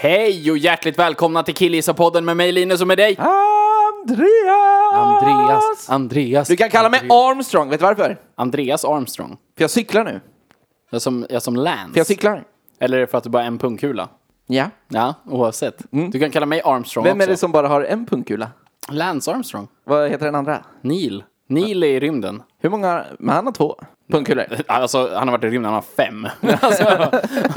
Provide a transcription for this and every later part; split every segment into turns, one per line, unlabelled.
Hej och hjärtligt välkomna till Killgissa-podden med mig Linus och med dig
Andreas!
Andreas. Andreas.
Du kan kalla mig Armstrong, vet du varför?
Andreas Armstrong.
För jag cyklar nu.
Jag är som, jag är som Lance.
För jag cyklar.
Eller är det för att du bara är en pungkula?
Ja.
Ja, oavsett. Du kan kalla mig Armstrong
Mm. Vem
också.
är det som bara har en pungkula?
Lance Armstrong.
Vad heter den andra?
Neil. Neil är i rymden.
Hur många? Men han har två pungkulor.
Alltså, han har varit i rymden, han har fem. Alltså,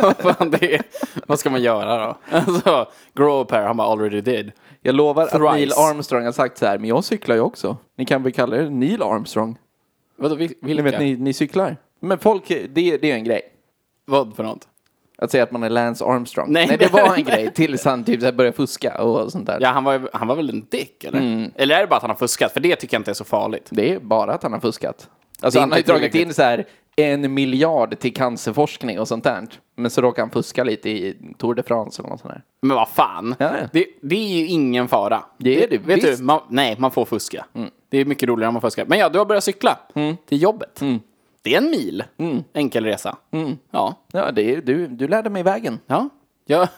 vad, fan det är, vad ska man göra då? Alltså, grow a pair, han bara already did.
Jag lovar
Thrice.
att Neil Armstrong har sagt så här, men jag cyklar ju också. Ni kan väl kalla er Neil Armstrong?
Vadå, vil-
Ni
vilka?
vet, ni, ni cyklar. Men folk, det, det är en grej.
Vad för något?
Att säga att man är Lance Armstrong.
Nej,
Nej, det
nej,
var en
nej.
grej tills han typ så här började fuska och sånt där.
Ja, han var, han var väl en dick, eller?
Mm.
Eller är det bara att han har fuskat? För det tycker jag inte är så farligt.
Det är bara att han har fuskat. Alltså
är
han har ju
inte
dragit
tillräckligt.
in så här en miljard till cancerforskning och sånt där. Men så råkar han fuska lite i Tour de France eller något sånt där.
Men vad fan,
Ja, ja.
Det, det är ju ingen fara.
Det är det
vet
visst. Mm.
du, man, Nej, man får fuska. Det är mycket roligare om man fuskar. Men ja, du har börjat cykla till jobbet.
Mm.
Det är en mil enkel resa. Ja.
Ja, det är, du, du lärde mig vägen.
ja. ja.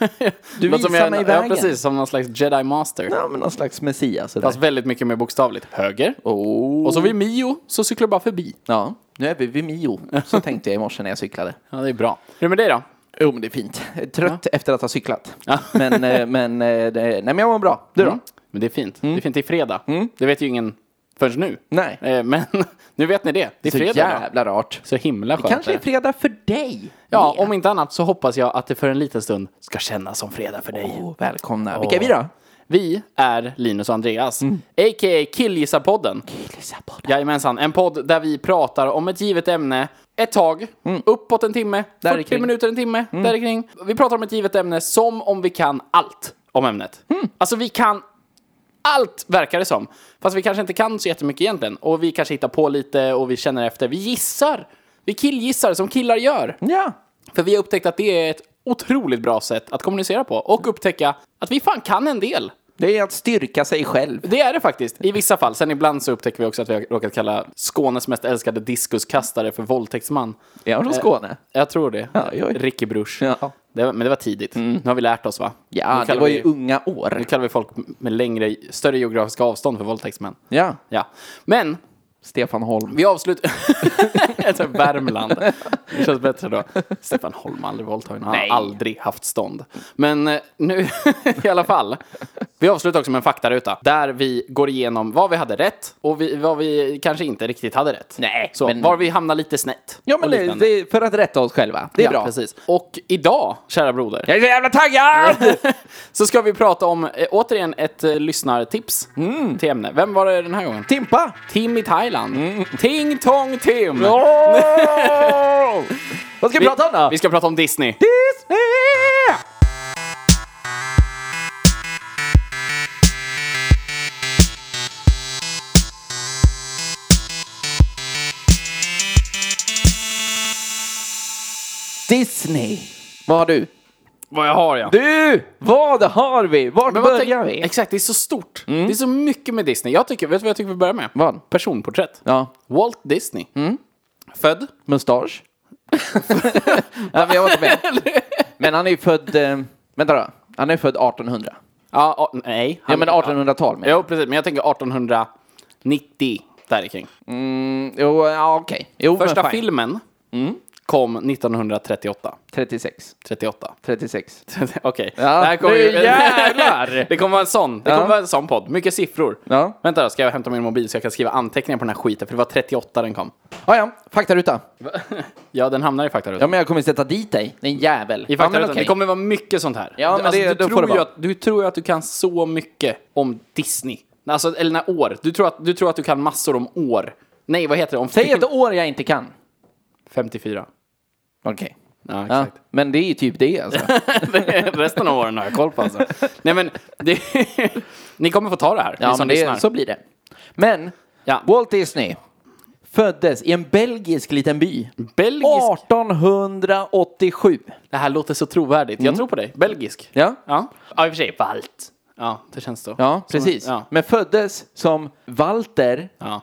Du
Något som
visar
jag-
mig
Ja,
vägen.
precis. Som någon slags jedi master.
Ja, men någon slags Messias. sådär.
Fast väldigt mycket mer bokstavligt. Höger.
oh.
Och så vid Mio så cyklar du bara förbi.
Ja, nu är vi vid Mio. Så tänkte jag i morse när jag cyklade.
Ja, det är bra. Hur är det med dig då?
Jo, men det är fint. Trött efter att ha cyklat. Men, eh, men, eh, det, nej, men jag mår bra. Du då?
Mm. Men det är fint. Det är fint. Det är fredag. Det vet ju ingen förrän nu.
Nej.
Eh, Men nu vet ni det. Det är
Så
fredag. idag.
jävla rart.
Så himla skönt.
Kanske
det
är fredag för dig.
Ja, om inte annat så hoppas jag att det för en liten stund ska kännas som fredag för dig.
Oh, välkomna. Vilka är vi då?
Vi är Linus och Andreas,
Mm.
a.k.a. Killgissarpodden. Jajamensan, en podd där vi pratar om ett givet ämne ett tag, uppåt en timme,
Mm. Där
40
kring. Mm.
minuter, en timme, där kring. Vi pratar om ett givet ämne som om vi kan allt om ämnet.
Mm.
Alltså vi kan allt verkar det som. Fast vi kanske inte kan så jättemycket egentligen. Och vi kanske hittar på lite och vi känner efter. Vi gissar! Vi killgissar som killar gör.
Ja.
För vi har upptäckt att det är ett otroligt bra sätt att kommunicera på och upptäcka att vi fan kan en del.
Det är att styrka sig själv.
Det är det faktiskt, i vissa fall. Sen ibland så upptäcker vi också att vi har råkat kalla Skånes mest älskade diskuskastare för våldtäktsman.
Är han från
Eh,
Skåne?
Jag tror det.
Ja, oj.
Ricky Bruch.
Ja. Mm.
Det var, men det var tidigt. Nu har vi lärt oss va?
Ja,
nu kallar
det var
vi,
ju unga
Nu
år.
kallar vi folk med längre, större geografiska avstånd för våldtäktsmän.
Ja,
Ja. Men
Stefan Holm.
vi avslutar... Alltså, Värmland. Det känns bättre då. Stefan Holm har aldrig våldtagit Han har aldrig haft stånd. Men eh, nu, i alla fall. Vi avslutar också med en faktaruta. Där vi går igenom vad vi hade rätt och vi, vad vi kanske inte riktigt hade rätt.
Nej,
Så
men-
var vi hamnar lite snett.
Ja, men
och
det,
liknande.
det är för att rätta oss själva. Det är
Ja,
bra.
Precis. Och idag, kära broder.
Jag är så jävla taggad!
Så ska vi prata om, eh, återigen, ett eh, lyssnartips
Mm.
till ämne. Vem var det den här gången?
Timpa!
Tim i Thailand.
Mm.
Ting Tong Tim!
Åh! Vad ska vi, prata om då?
Vi ska prata om Disney.
Disney! Disney. Vad har du?
Vad jag har ja.
Du! Vad har vi? Vart
Men vad
börjar
tänk-
vi? Mm.
Exakt, det är så stort. Det är så mycket med Disney. Jag tycker, vet du vad jag tycker vi börjar med?
Vad?
Personporträtt.
Ja, Mm.
Walt Disney. Född.
mustasch. ja, men jag var inte med. Men han är ju född... Eh, vänta då. Han är född 1800.
Ja, a- nej.
Ja, men 1800-tal menar jag.
Jo, precis. Men jag tänker 1890 där kring.
Jo, eh, ja, okej. Jo, men
Första
fine. Mm.
filmen kom 1938.
36.
38.
36.
Okej.
Ja, nu jävlar!
det kommer vara en sån. Det
Ja.
kommer vara en sån podd. Mycket siffror.
Ja.
Vänta då, ska jag hämta min mobil så jag kan skriva anteckningar på den här skiten? För det var 38 den kom.
Ah, ja, faktaruta.
Ja, den hamnar i faktarutan.
Ja, men jag kommer sätta dit dig, din jävel.
I
ja,
faktarutan.
men okej.
Det kommer vara mycket sånt här. Alltså,
Ja, men det-
du,
då får
tror
det
ju
vara.
att, du tror ju att du kan så mycket om Disney. Alltså, eller när år. Du tror, att, du tror att du kan massor om år. Nej, vad heter det? Om
Säg
film-
ett år jag inte kan.
54.
Okej.
Ja,
Ja,
exakt.
men det är ju typ det alltså.
Det- Resten av åren har jag koll på alltså. Nej men, det, ni kommer få ta det här.
Ja,
ni som
men det,
lyssnar.
så blir det. Men
Ja.
Walt Disney föddes i en belgisk liten by
Belgisk.
1887.
Det här låter så trovärdigt. Jag tror på dig. Belgisk.
Mm. Ja,
Ja, ja i och för sig. Valt. Ja, det känns så.
ja precis.
ja.
Men föddes som Walter
Ja,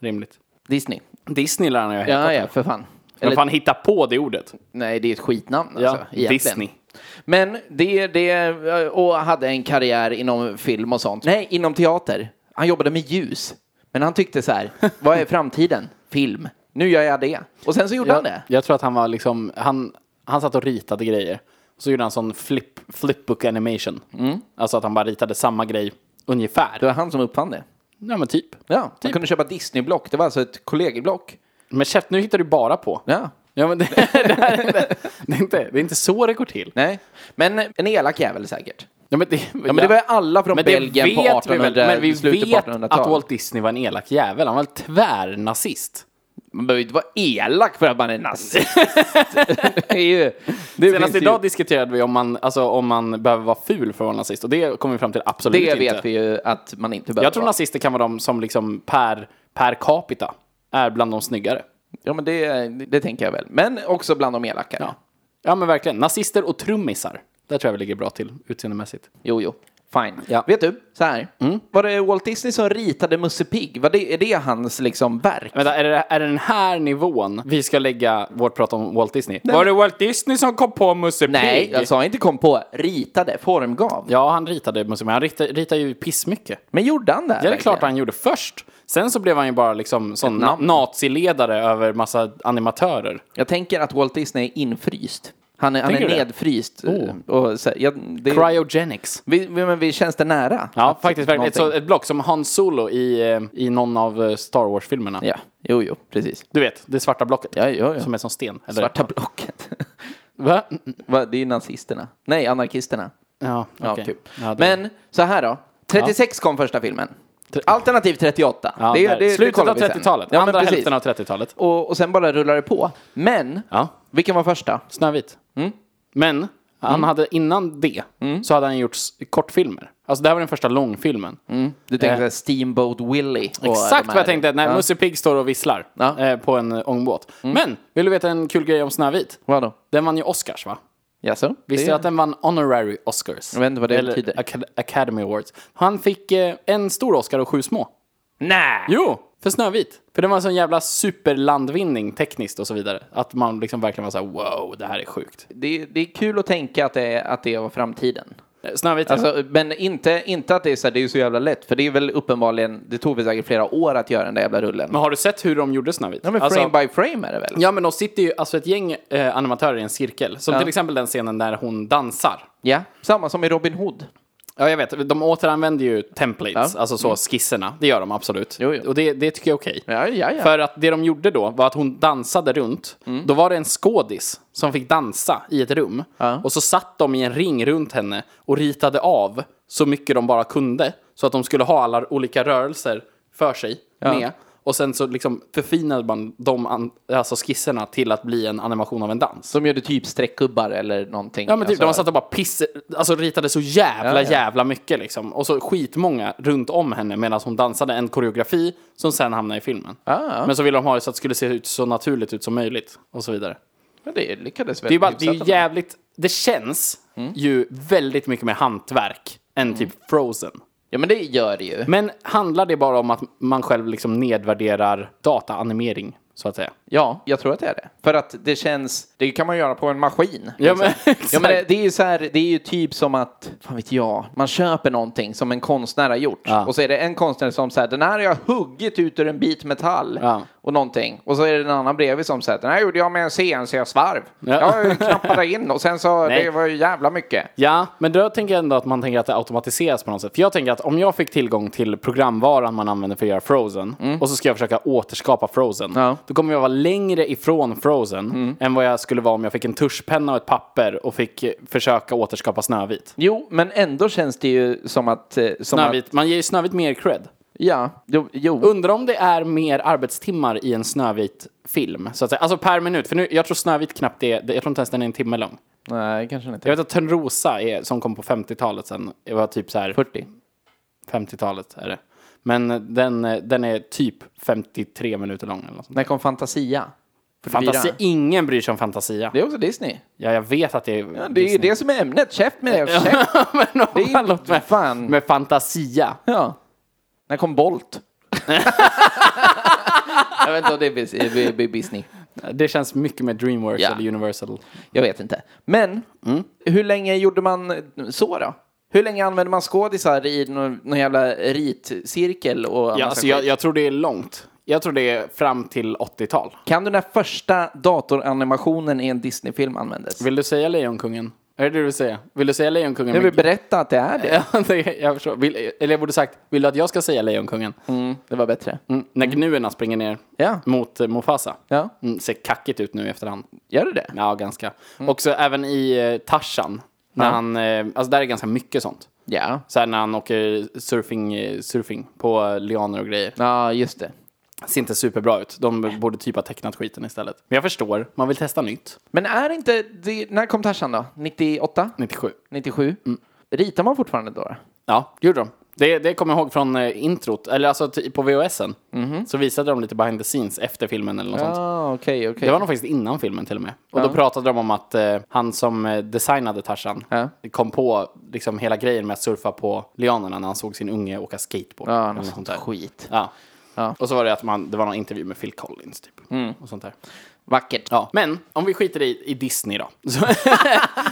rimligt.
Disney.
Disney lär han ju ha hetat.
Ja, ja, för fan.
Eller...
Eller,
fan hitta på det ordet.
Nej, det är ett skitnamn
Ja,
alltså, egentligen.
Disney.
Men det, det, och hade en karriär inom film och sånt. Nej, inom teater. Han jobbade med ljus. Men han tyckte så här, vad är framtiden? Film. Nu gör jag det. Och sen så gjorde han
Jag,
det.
jag tror att han var liksom, han, han satt och ritade grejer. Så gjorde han sån flip, flipbook animation.
Mm.
Alltså att han bara ritade samma grej ungefär.
Det var han som uppfann det.
Ja men typ.
Ja, man kunde köpa Disneyblock. Det var alltså ett kollegieblock.
Men käft, nu hittar du bara på.
Ja.
Ja, men det, det, här är, inte- det, är inte, det är inte så det går till.
Nej, men en elak jävel säkert.
Ja, men det,
Ja, men det var ju alla från
men det
Belgien på
vet vi
1800,
väl, Men vi
slutet på
vet att
1800-talet.
Walt Disney var en elak jävel. Han var väl tvärnazist.
Man behöver ju inte vara elak för att man är nazist. det är ju... Det
Senast
finns
idag
ju,
diskuterade vi om man, alltså, om man behöver vara ful för att vara nazist. Och det kom vi fram till absolut
det
inte.
vet vi ju att man inte behöver
Jag tror
vara.
nazister kan vara de som liksom per, per capita är bland de snyggare.
Ja, men det, det tänker jag väl. Men också bland de elaka.
Ja, ja men verkligen. Nazister och trummisar. Där tror jag vi ligger bra till utseendemässigt.
Jo, jo. Fine.
Ja.
Vet du, så här. Var det Walt Disney som ritade Musse Pigg? Var det, är det hans liksom verk?
Vänta, är det, är det den här nivån vi ska lägga vårt prat om Walt Disney? Var det Walt Disney som kom på Musse
Nej,
Pigg?
jag sa inte kom på. Ritade, formgav.
Ja, han ritade Musse Pigg. Han ritade, ritade ju pissmycket.
Men gjorde han det?
Ja, det är klart han gjorde först. Sen så blev han ju bara liksom sån na-
namn.
naziledare över massa animatörer.
Jag tänker att Walt Disney är infryst. Han är, han
Tänker
är
du det? Oh.
nedfryst. Och så, jag, det,
Cryogenics.
vi, vi, men vi känns det nära?
Ja,
Att-
faktiskt. Verkligen. Ett, så,
någonting.
ett block som Han Solo i, eh, i någon av eh, Star Wars-filmerna.
Ja, jo, jo, precis.
Du vet, det svarta blocket.
Ja, ja, ja.
Som är som sten. Eller?
Svarta blocket.
Va? Mm,
Va, det är ju nazisterna. Nej, anarkisterna.
Ja,
Ja,
okej.
typ.
Ja, det-
Men så här då. 36 kom första filmen. Alternativ 38.
ja, där. Slutet
kollar
av
vi sen.
30-talet.
Ja, men
Andra
precis.
hälften av 30-talet.
Och, och sen bara rullar det på. Men,
Ja.
vilken var första?
Snövit.
Mm.
Men han hade innan det så hade han gjort s- kortfilmer. Alltså det här var den första långfilmen.
Du
Eh.
tänkte eh. Steamboat Willie. och
Exakt
de
vad
här.
jag tänkte när
Ja.
Musse Pigg står och visslar
Ja. Mm.
eh, på en eh, ångbåt. Men, vill du veta en kul grej om Snövit?
Vadå?
Den vann ju Oscars va?
Jaså?
Visste
Det-
du att den vann Honorary Oscars?
Jag vet inte vad det
Eller
betyder.
Acad- Academy Awards. Han fick eh, en stor Oscar och sju små.
Nej!
Jo, för Snövit. För det var en sån jävla superlandvinning tekniskt och så vidare. Att man liksom verkligen var så här: wow, det här är sjukt.
Det, det är kul att tänka att det, att det var framtiden.
Eh, Snövit, ja.
Alltså, men inte, inte att det är så, här, det är ju så jävla lätt, för det är väl uppenbarligen, det tog väl säkert flera år att göra den där jävla rullen.
Men har du sett hur de gjorde Snövit?
Ja, men
Alltså-
frame by frame är det väl?
Ja, men de sitter ju, alltså ett gäng eh, animatörer i en cirkel. Som till exempel den scenen där hon dansar.
Ja, samma som i Robin Hood.
Ja, jag vet. De återanvänder ju templates,
Ja. Mm.
alltså så skisserna. Det gör de absolut.
Jo, jo.
Och det, det tycker jag är okej.
Ja, ja, Mm. ja.
För att det de gjorde då var att hon dansade runt. Då var det en skådis som fick dansa i ett rum.
Ja.
Och så satt de i en ring runt henne och ritade av så mycket de bara kunde. Så att de skulle ha alla olika rörelser för sig med. Och sen så liksom förfinade man de an- alltså skisserna till att bli en animation av en dans.
Som gjorde typ streckgubbar eller någonting.
Ja men typ,
Alltså,
de satt och bara piss, alltså ritade så jävla,
Ja, ja.
jävla mycket liksom. Och så skitmånga runt om henne medan hon dansade en koreografi som sen hamnade i filmen.
Ah, ja.
Men så ville de ha det så att det skulle se ut så naturligt ut som möjligt och så vidare.
ja, det lyckades väl.
Det är ju bara, det är ju
hyfsat ändå. Mm.
jävligt, det känns ju väldigt mycket mer hantverk än typ Frozen.
Ja, men det gör det ju.
Men handlar det bara om att man själv liksom nedvärderar dataanimering, så att säga?
Ja, jag tror att det är det. För att det känns, det kan man göra på en maskin. Liksom.
Ja, men-
ja, men det, det är ju så här, det är ju typ som att, fan vet jag, man köper någonting som en konstnär har gjort.
Ja.
Och så är det en konstnär som säger, den här har jag huggit ut ur en bit metall.
Ja.
Och någonting. Och så är det en annan bredvid som säger, den här gjorde jag med en CNC-svarv.
Ja.
Jag knappade in och sen så,
Nej.
det var ju jävla mycket.
Ja, men då tänker jag ändå att man tänker att det automatiseras på något sätt. För jag tänker att om jag fick tillgång till programvaran man använder för att göra Frozen och så ska jag försöka återskapa Frozen.
Mm. Ja. Mm.
Då kommer jag vara längre ifrån Frozen än vad jag skulle vara om jag fick en tuschpenna och ett papper och fick eh, försöka återskapa Snövit.
Jo, men ändå känns det ju som att... eh, Som
Snövit, man ger ju Snövit mer cred.
Ja, jo. jo.
Undrar om det är mer arbetstimmar i en Snövit film, så att säga. Alltså per minut, för nu, jag tror Snövit knappt är, jag tror inte ens den är en timme lång.
Nej, kanske inte.
Jag vet att Törnrosa, är, som kom på 50-talet sen, det var typ så här...
40.
50-talet är det. Men den, eh, den är typ 53 minuter lång eller något sånt.
När kom Fantasia? 44.
Fantasi, ingen bryr sig om Fantasia.
Det är också Disney.
Ja, jag vet att det är...
Ja, det är ju det som är ämnet. Käft med det. Käft.
men
Det är Mm. ju
med,
fan.
med Fantasia.
Ja. När kom Bolt? jag vet inte om det är bis- bi- bi- Disney.
Det känns mycket mer Dreamworks
Ja.
eller Universal.
Jag vet inte. Men hur länge gjorde man så då? Hur länge använde man skådisar i någon, någon jävla ritcirkel? Och
Ja,
massa
alltså,
skit?
jag, jag tror det är långt. Jag tror det är fram till 80-tal.
Kan du den här första datoranimationen i en Disney-film användes?
Vill du säga Lejonkungen? Är det det du vill säga? Vill du säga Lejonkungen?
Jag vill berätta att det är det.
Ja, det- jag förstår. Vill, eller jag borde sagt, vill du att jag ska säga Lejonkungen?
Mm, det var bättre.
Mm. När gnuerna springer ner
Ja.
mot eh, Mufasa.
Ja.
Mm, ser kackigt ut nu i efterhand.
Gör du det?
Ja, ganska.
Mm.
Också även i eh, Tarzan. När han, eh, alltså där är ganska mycket sånt.
Ja.
Så här när han åker surfing, eh, surfing på eh, lianer och grejer.
Ja, just det.
Ser inte superbra ut. De borde typ ha tecknat skiten istället. Men jag förstår, man vill testa nytt.
Men är inte... Det, när kom Tarzan då? 98?
97.
97? Ritar man fortfarande då? då?
Ja, det gjorde de. Det, det kommer jag ihåg från eh, introt, eller alltså t- på VHSen.
Mhm.
Så visade de lite behind the scenes efter filmen eller något sånt.
Ah, okej, okej.
Det var nog faktiskt innan filmen till och med. Och då pratade de om att eh, han som eh, designade Tarzan
Ja.
kom på liksom hela grejen med att surfa på lianerna när han såg sin unge åka skateboard.
Ja,
eller
något sånt där. skit.
Ja.
Ja. Mm.
Och så var det att man, det var någon intervju med Phil Collins typ. Och sånt där.
Vackert.
Ja. Men om vi skiter i, i Disney då. Så,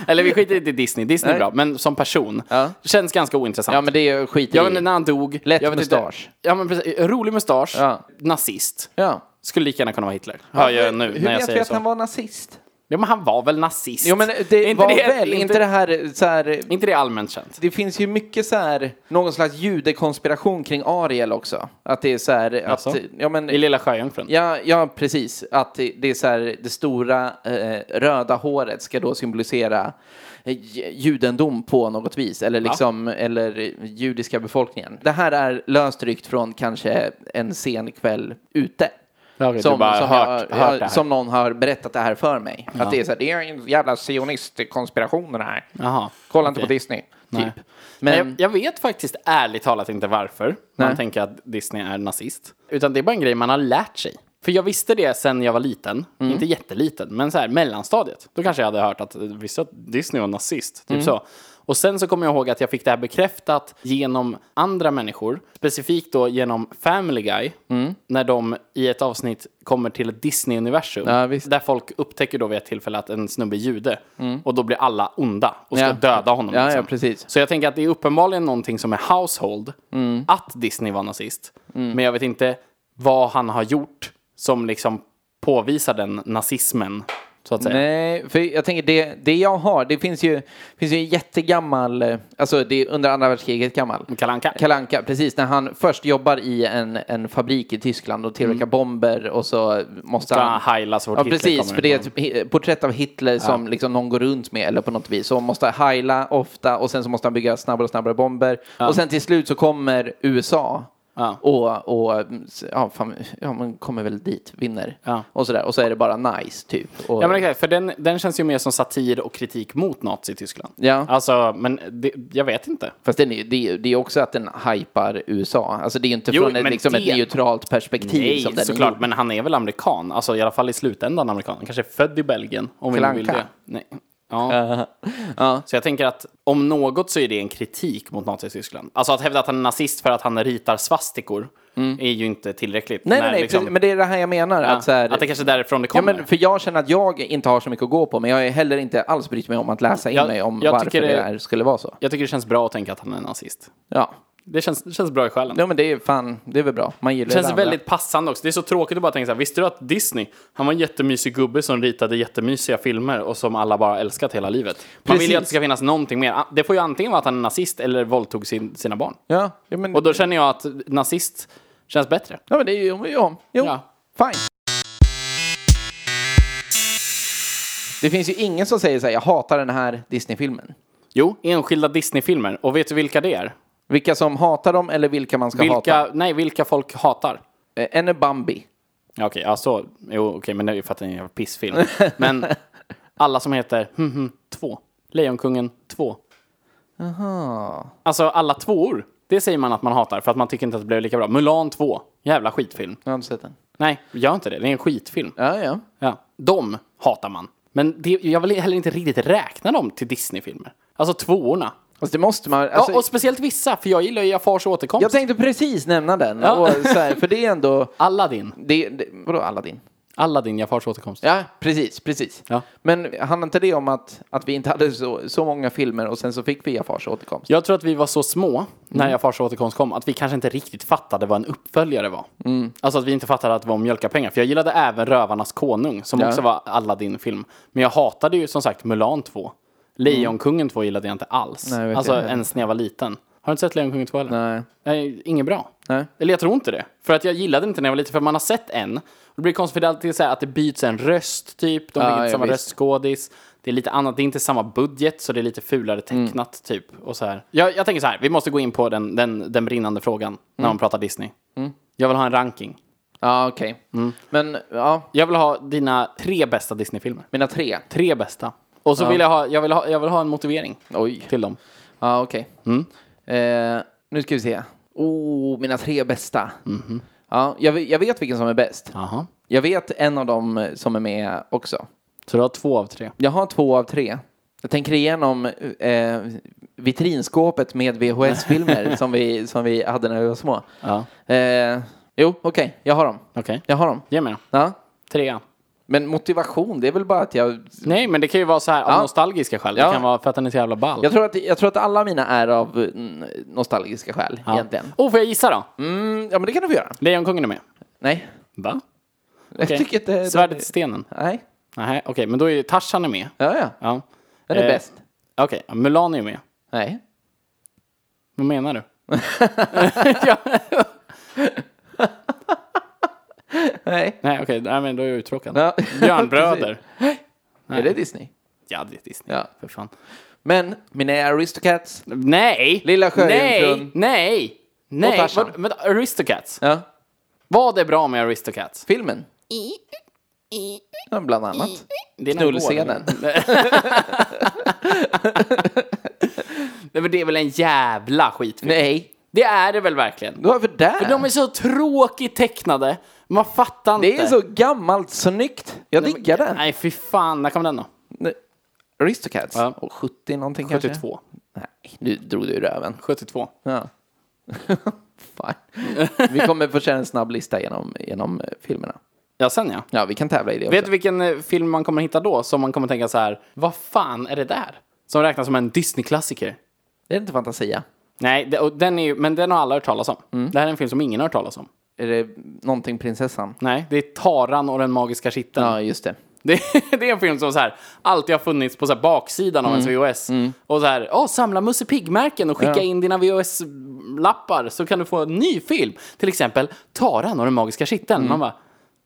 eller vi skiter inte i Disney, Disney är bra, men som person.
Ja.
Känns ganska ointressant.
Ja, men det är ju skit i.
Jag vet inte när han dog.
Lätt
jag vet inte-
mustasch.
Ja, men precis. Rolig mustasch.
Ja.
Nazist.
Ja.
Skulle lika gärna kunna vara Hitler. Hör jag nu
Hur
när jag
vet
säger
vi att
så.
han var nazist?
Ja, men han var väl nazist?
Jo, men
Är
det
inte
var väl inte,
inte,
det här så här...
inte det allmänt känt?
Det finns ju mycket så här, någon slags judekonspiration kring Ariel också. Att det är så här,
Jaså?
att, ja men,
I Lilla Sjöjungfrun?
Ja, ja, precis. Att det det är så här, det stora eh, röda håret ska då symbolisera eh, ju- judendom på något vis, eller liksom, eller judiska befolkningen. Det här är löst ryckt från kanske en sen kväll ute.
Ja, okej, du bara hört-
jag,
hört det här.
som någon har berättat det här för mig. Att det är så här, det är en jävla sionistkonspiration det här.
Jaha.
Kolla inte
okej.
på Disney, typ.
Nej.
Men,
Men... Jag, jag vet faktiskt ärligt talat inte varför man
Ehm. Nej.
tänker att Disney är nazist. Utan det är bara en grej man har lärt sig. För jag visste det sen jag var liten.
Mm.
Inte jätteliten, men så här mellanstadiet. Då kanske jag hade hört att eh, visste att Disney var nazist. Typ
Mm.
så. Och sen så kommer jag ihåg att jag fick det här bekräftat genom andra människor. Specifikt då genom Family Guy.
Mm.
När de i ett avsnitt kommer till ett Disney-universum.
Ja, visst. Mm.
där folk upptäcker då vid ett tillfälle att en snubbe är jude. Och då blir alla onda och ska
Ja.
döda honom. liksom.
Ja, ja, precis.
Så jag tänker att det är uppenbarligen någonting som är household, att Disney var nazist.
Mm.
Men jag vet inte vad han har gjort som liksom påvisar den nazismen, så att säga.
Nej, för jag tänker det, det jag har, det finns ju, finns ju en jättegammal, eh, alltså det är under andra världskriget gammal.
Kalle Anka.
Kalle Anka, precis. När han först jobbar i en, en fabrik i Tyskland och tillverkar bomber och så måste
Mm. Ska
han...
han heila så fort
Ja,
Hitler
precis.
kommer Mm.
För det är
ut.
ett hi- porträtt av Hitler som liksom någon går runt med eller på något vis. Så han måste heila ofta och sen så måste han bygga snabbare och snabbare bomber. Och sen till slut så kommer USA.
Ja.
Och, och ja, fan, ja, man kommer väl dit, vinner.
Ja.
Och sådär. Och så är det bara nice, typ. Och,
Ja, men exakt, för den, den känns ju mer som satir och kritik mot Nazityskland.
Ja.
Alltså, men det, jag vet inte.
Fast den är, det, är, det är också att den hypar USA. Alltså det är ju inte
Jo,
från ett,
men
liksom ett
det-
neutralt perspektiv som
Nej,
den
såklart,
är.
men han är väl amerikan. Alltså i alla fall i slutändan amerikan. Han kanske är född i Belgien, om vi nu
Kalle
vill
Anka.
det. Nej. Ja. Så jag tänker att om något så är det en kritik mot Nazityskland. Alltså att hävda att han är nazist för att han ritar svastikor är ju inte tillräckligt.
Mm. Nej,
när
nej, nej,
liksom-
precis, men det är det här jag menar.
ja,
att, så här,
att det kanske är därifrån det
ja,
kommer.
men för jag känner att jag inte har så mycket att gå på, men jag har heller inte alls brytt mig om att läsa in
Jag-
mig om
jag
varför det,
tycker det-
här skulle vara så.
Jag tycker det känns bra att tänka att han är nazist.
Ja.
Det känns, det känns bra i själen.
ja, men det är fan, det är väl bra. Man gillar
Det känns
det andra.
väldigt passande också. Det är så tråkigt att bara tänka så här, visste du att Disney, han var en jättemysig gubbe som ritade jättemysiga filmer och som alla bara älskat hela livet. Man vill ju
Precis.
att det ska finnas någonting mer. Ah, Det får ju antingen vara att han är nazist eller våldtog sin, sina barn.
Ja, ja, men,
Och då känner jag att nazist känns bättre.
ja, men det är ju om. Jo, jo
Ja.
fine. Det finns ju ingen som säger så här, jag hatar den här Disney-filmen.
Jo, enskilda Disney-filmer. Och vet du vilka det är?
Vilka som hatar dem eller vilka man ska hata?
Vilka, nej, vilka folk hatar.
Eh, En är Bambi.
Ja, Okej, ja, så. Jo, okej, men det är ju för att det är en jävla pissfilm. Men alla som heter hm, hm, två. Lejonkungen två.
Aha.
Alltså alla tvåor. Det säger man att man hatar för att man tycker inte att det blev lika bra. Mulan 2. Jävla skitfilm.
Jag har inte sett den.
Nej, gör inte det. Det är en skitfilm.
Ja, ja.
Ja. De hatar man. Men det, jag vill heller inte riktigt räkna dem till Disney-filmer. Alltså tvåorna.
Alltså, det måste man... Alltså,
Ja, och speciellt vissa, för jag gillar ju Jafars återkomst.
jag tänkte precis nämna den.
Ja.
Och så här, för det är ändå...
Aladdin.
Det, det, vadå Aladdin?
Aladdin, Jafars återkomst.
Ja, precis, precis.
Ja.
Men handlar inte det om att, att vi inte hade så, så många filmer och sen så fick vi Jafars återkomst?
Jag tror att vi var så små
Mm.
när Jafars återkomst kom att vi kanske inte riktigt fattade vad en uppföljare var.
Mm.
Alltså att vi inte fattade att det var om mjölkapengar. För jag gillade även Rövarnas konung som också var Aladdin-film. Men jag hatade ju som sagt Mulan 2. Lejonkungen 2 gillade jag inte alls.
Nej, jag vet
alltså
inte.
ens när jag var liten. Har du inte sett Lejonkungen 2 heller?
Nej.
Nej, inget bra.
Nej.
Eller jag tror inte det. För att jag gillade inte när jag var liten, för man har sett en. Och det blir konstigt för det är alltid så här att det byts en röst typ, de
Ja,
har inte
ja,
samma
visst.
röstskådis. Det är lite annat, det är inte samma budget så det är lite fulare
Mm.
tecknat typ. Och så här. Jag, jag tänker så här, vi måste gå in på den, den, den brinnande frågan
Mm.
när man pratar Disney. Jag vill ha en ranking.
Ja, okej. Men ja,
Jag vill ha dina tre bästa Disney-filmer.
mina tre.
Tre bästa. Och så vill jag ha, jag vill ha, jag vill ha en motivering
Oj. Mm.
till dem.
Ja, okej. Eh, nu ska vi se. Oh, mina tre bästa. Mhm. Ja, jag, ve- jag vet vilken som är bäst.
Jaha.
Jag vet en av dem eh, som är med också.
Så du har två av tre.
Jag har två av tre. Jag tänker igenom eh, vitrinskåpet med VHS-filmer som, vi, som vi hade när vi var små.
Ja.
Eh, jo, okej, jag har dem.
Okej.
Jag har dem.
Ge mig då.
Ja.
Trea.
Men motivation, det är väl bara att jag...
Nej, men det kan ju vara så här av nostalgiska skäl. Det
Ja.
kan vara för att den är så jävla ball.
Jag tror, att, jag tror att alla mina är av mm, nostalgiska skäl
Ja.
egentligen.
Oh, får jag gissa då?
Mm, ja, men det kan du få göra.
Lejonkungen är med.
Nej,
Va?
jag tycker inte...
Svärdet i stenen.
Nej,
Nej, okej, men då är ju Tarzan är med.
ja, ja.
Ja.
Den är
Eh,
bäst.
Okej, Mulan är ju med.
Nej.
Vad menar du?
Nej.
Nej, okej, nej, men då är jag uttråkad.
Ja.
Björnbröder.
Är det Disney?
ja, det är Disney.
Ja.
För fan.
Men mina Aristocats.
Nej!
Lilla Sjöjungfrun.
Nej! Nej!
Och
Nej!
Tarzan.
Vad, vänta, Aristocats.
Ja.
Vad är bra med Aristocats?
Filmen. Ja, bland annat.
Det är någon
Knullscenen.
gård. Nej, men det är väl en jävla skitfilm?
Nej.
Det är det väl verkligen?
Du har för typ. där.
För de är så tråkigt tecknade. Man fattar inte.
Det är så gammalt snyggt. Jag diggar den.
Nej, fy fan. När kom den då?
Nej. Aristocats?
Ja.
Och 70 någonting kanske?
72.
Nej, nu drog du i röven.
72.
Ja. Fan. Vi kommer få köra en snabb lista genom, genom eh, filmerna.
Ja, sen ja.
Ja, vi kan tävla i det
Vet
också.
du vilken eh, film man kommer hitta då som man kommer tänka så här, vad fan är det där? Som räknas som en Disney-klassiker.
Det är inte Fantasia.
Nej, det, och den är ju, men den har alla hört talas om.
Mm.
Det här är en film som ingen har hört talas om.
Är det någonting prinsessan?
Nej, det är Taran och den magiska kitteln.
Ja, just det.
Det, det är en film som så här, alltid har funnits på så här baksidan av ens VHS. Och så här, åh, samla Musse Pigg-märken och skicka
Mm. Ja.
in dina VHS-lappar så kan du få en ny film. Till exempel Taran och den magiska kitteln. Man bara,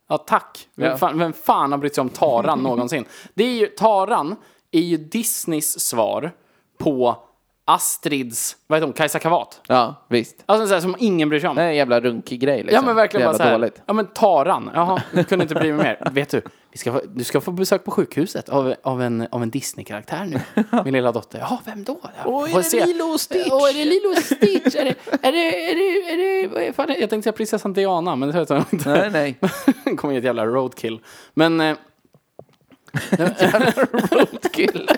ja tack. Vem,
Mm. Ja.
fan, vem fan har brytt sig om Taran någonsin? Det är ju, Taran är ju Disneys svar på Astrids, vad heter hon, Kajsa Kavat.
Ja, visst.
Alltså så här, som ingen bryr sig om.
Det är en jävla runkig grej liksom.
Ja men verkligen
Jävla
bara så här.
dåligt.
Ja men Taran. Jaha, jag kunde inte bli mig mer. Vet du, vi ska få, du ska få besök på sjukhuset av, av en, av en Disney-karaktär nu. Min lilla dotter. Jaha, vem då?
Åh, är
Får
det Lilo och Stitch?
Åh, är det Lilo och Stitch? Är det, är det, är det, är det, vad är fan, är- jag tänkte säga prinsessan Diana, men det tror jag inte.
Nej, nej.
Det kommer ge ett jävla roadkill. Men, eh,
Kul.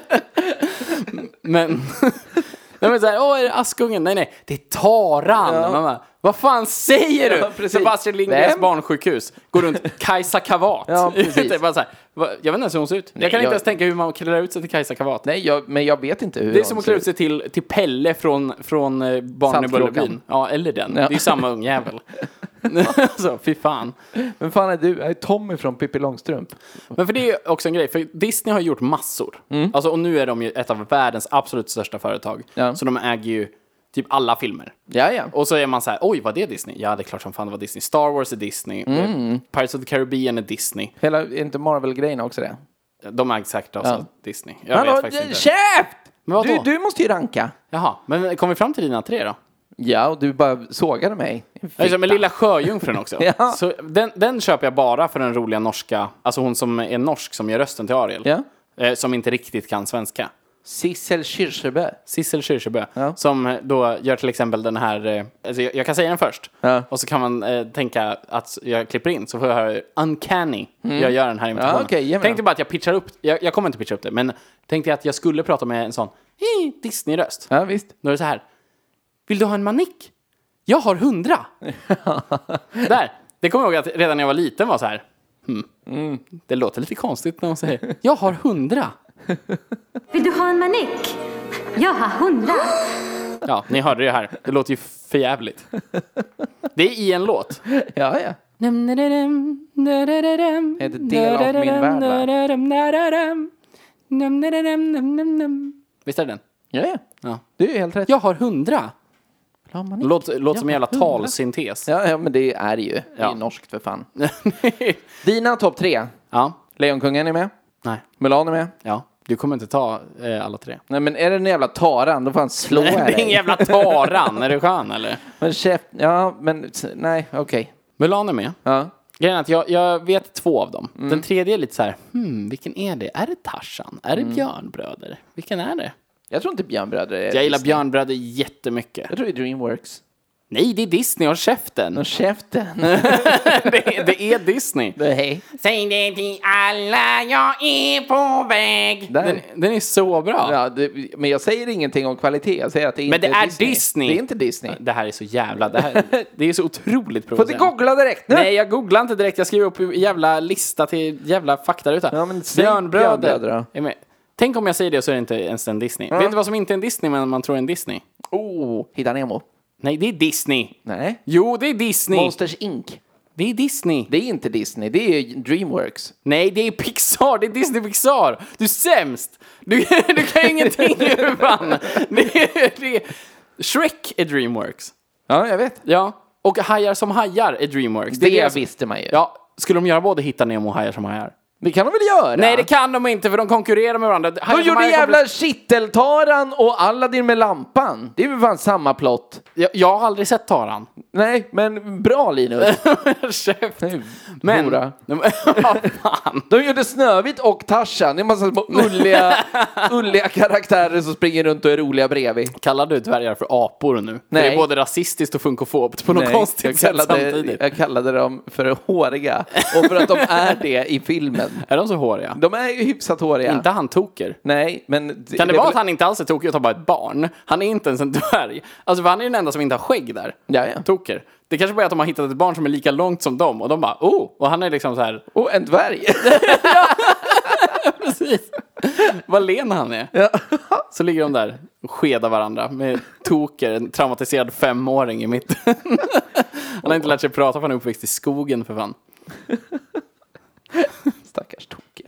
men, nej men så här, åh, är det Askungen? Nej, nej, det är Taran. Man bara, vad fan säger
Ja,
du?
precis.
så på Astrid Lindgrens
Vem?
barnsjukhus går runt Kajsa Kavat.
Ja, precis.
det är bara så här, va- jag vet inte ens hur hon ser ut. jag kan inte
jag-
ens tänka hur man klär ut sig till Kajsa Kavat.
Nej, jag, men jag vet inte hur
Det är
hon
som att
ser
klä
ut.
ut sig till, till Pelle från, från eh, Barnen i
Saltkråkan.
Bullerbyn. Ja, eller den.
Ja.
Det är ju samma ungjävel. alltså, fy fan.
Vem fan är du? Jag är Tommy från Pippi Långstrump.
Men för det är ju också en grej, för Disney har gjort massor.
Mm.
Alltså, och nu är de ju ett av världens absolut största företag.
Ja.
Så de äger ju typ alla filmer.
Ja, ja.
Och så är man så här, oj, vad det är Disney? Ja, det är klart som fan det var Disney. Star Wars är Disney. Eh,
Mm.
Pirates of the Caribbean är Disney.
Hela, är inte Marvel-grejen också det?
De ägs säkert också av Disney. Jag vet
Hallå,
faktiskt inte.
käft!
Men vadå?
Du, du måste ju ranka.
Jaha, men kom vi fram till dina tre då?
Ja, och du bara sågade mig.
Jag är som med Lilla Sjöjungfrun också.
Ja.
så den, den köper jag bara för den roliga norska, alltså hon som är norsk som gör rösten till Ariel.
Ja.
Eh, som inte riktigt kan svenska.
Sissel Kyrkjebø.
Sissel Kyrkjebø,
Ja.
som eh, då gör till exempel den här, eh, alltså jag, jag kan säga den först,
Ja.
och så kan man eh, tänka att jag klipper in, så får jag höra uncanny, jag gör den här imitationen.
Mm. Ja, okej, ge mig den.
Tänk dig bara att jag pitchar upp, jag, jag kommer inte pitcha upp det, men tänk dig att jag skulle prata med en sån "Hej, Disney-röst.
Ja, visst.
Då är det så här, vill du ha en manick? Jag har hundra! Där, det kommer jag ihåg att redan när jag var liten var så här, hmm.
Mm.
det låter lite konstigt när man säger, jag har hundra!
Vill du ha en manick? Jag har hundra.
Ja, ni hörde det här. Det låter ju förjävligt. Det är i en låt.
Ja, ja.
Är
det del av min värld,
Visst är det den?
Ja, ja.
Ja.
Du är helt rätt.
Jag har hundra.
Ja, man är-
Låter låt som en jävla talsyntes.
ja, ja men det är det ju. Det är
Ja.
ju norskt för fan. Dina topp tre.
ja.
Lejonkungen är med.
Nej.
Mulan är med.
Ja. Du kommer inte ta eh, alla tre.
Nej, men är det den jävla taran, då får han slå
Det är
dig.
ingen jävla taran. Är du skön eller?
Men chef, ja, men nej, okej.
Mulan är med.
Ja.
Grejen är att jag, jag vet två av dem. Den tredje är lite så här, hmm, vilken är det? Är det Tarzan? Är det Björnbröder? Vilken är det?
Jag tror inte Björnbröder är
Jag gillar
Disney.
Björnbröder jättemycket.
Jag tror det är Dreamworks.
Nej, det är Disney, håll käften!
Och käften.
det, är- det är Disney.
Hej.
Säg det till alla, jag är på väg!
Där.
Den, den är så bra.
Ja, det, men jag säger ingenting om kvalitet. Jag säger att det inte
Men det är Disney.
Det är inte Disney.
Det här är så jävla, det, här, det är så otroligt
Får du
provocerande.
googla direkt nu?
Nej, jag googlar inte direkt. Jag skriver upp jävla lista till jävla faktaruta.
Ja, men säg Björnbröder då.
är med. Tänk om jag säger det så är det inte ens en Disney. Vet du vad som inte är en Disney men man tror är en Disney?
Oh, Hitta Nemo.
Nej, det är Disney.
Nej.
Jo, det är Disney.
Monsters Inc.
Det är Disney.
Det är inte Disney, det är Dreamworks.
Nej, det är Pixar! Det är Disney Pixar! Du är sämst! Du, du kan ju ingenting ju fan! Det, är- det, är- Shrek är Dreamworks.
Ja, jag vet.
Ja. Och Hajar som hajar är Dreamworks.
Det,
är jag-
visste man ju.
Ja. Skulle de göra både Hitta Nemo och Hajar som hajar?
Det kan de väl göra?
Nej, det kan de inte för de konkurrerar med varandra. Hajar
De
som
gjorde
hajar
jävla
komplet-
kitteltaran och Aladdin med lampan. Det är väl fan samma plott.
Jag, jag har aldrig sett Taran.
Nej, men bra Linus.
Käft.
Men.
Men... Vad fan.
De gjorde Snövit och Tarzan. Det är en massa små ulliga, ulliga karaktärer som springer runt och är roliga bredvid.
Kallar du dvärgar för apor nu? Nej. Det
Nej.
är både rasistiskt och funkofobt på något
jag
konstigt sätt
kallade,
samtidigt.
jag kallade dem för håriga och för att de är det i filmen.
Är de så håriga?
De är ju hyfsat håriga.
Inte han toker.
Nej, men...
Kan det,
är
vara
väl-
att han inte alls är tokig utan bara ett barn? Han är inte ens en dvärg. Alltså för han är den enda som inte har skägg där.
Jaja.
Toker. Det kanske bara är att de har hittat ett barn som är lika långt som dem och de bara oh! Och han är liksom så här,
Och en dvärg!
precis. Vad len han är. Så ligger de där och skedar varandra med Toker, en traumatiserad femåring i mitten. Han har inte lärt sig prata för han är uppväxt i skogen för fan.
Stackars toker.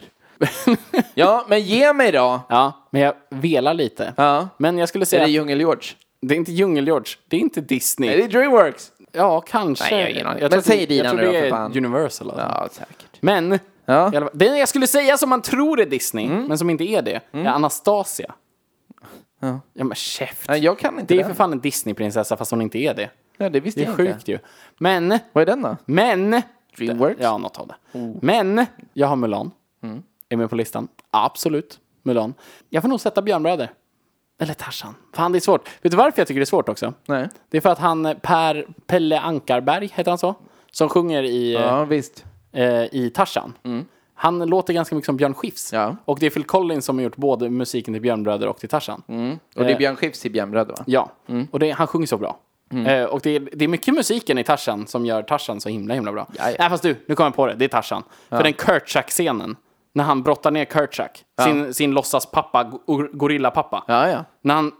ja, men ge mig då!
Ja, men jag velar lite.
Ja.
Men jag skulle
Är
säga,
det
att
Djungel-George?
det är inte Djungel-George, det är inte Disney.
Är det Dreamworks?
Ja, kanske.
Nej, jag har ingen aning.
tror
Men
att-
säg dina
jag tror
nu då,
det
för
är
fan.
Universal. Alltså.
Ja, säkert.
Men,
Ja. Mm.
i alla fall- det jag skulle säga som man tror är Disney, men som inte är det, är Anastasia. Ja. men käft.
Nej, jag kan inte
det är
den.
för fan en Disney-prinsessa fast hon inte är det.
Ja, det visste
Det är
jag inte.
sjukt ju. Men,
Vad är den då?
men.
Dreamworks? Oh. Mm.
Ja, något av det. Men, jag har Mulan. Är med på listan. Absolut, Mulan. Jag får nog sätta Björnbröder. Eller Tarzan. Fan, det är svårt. Vet du varför jag tycker det är svårt också?
Nej.
Det är för att han, eh, Per Pelle Ankarberg, heter han så? Som sjunger i, eh,
Ja, visst.
eh, i Tarzan. Han låter ganska mycket som Björn Skifs.
Ja.
Och det är Phil Collins som har gjort både musiken till Björnbröder och till Tarzan.
Mm.
Eh,
Och det är Björn Skifs i Björnbröder, va?
Ja, och det, han sjunger så bra.
Mm.
Eh, och det är, det är mycket musiken i Tarzan som gör Tarzan så himla himla bra.
Jaja.
Nej fast du, nu kommer jag på det, det är Tarzan. För den Kurtzak-scenen, när han brottar ner Kurtzak, sin, sin låtsaspappa, go- gorillapappa.
Ja, ja.
När han...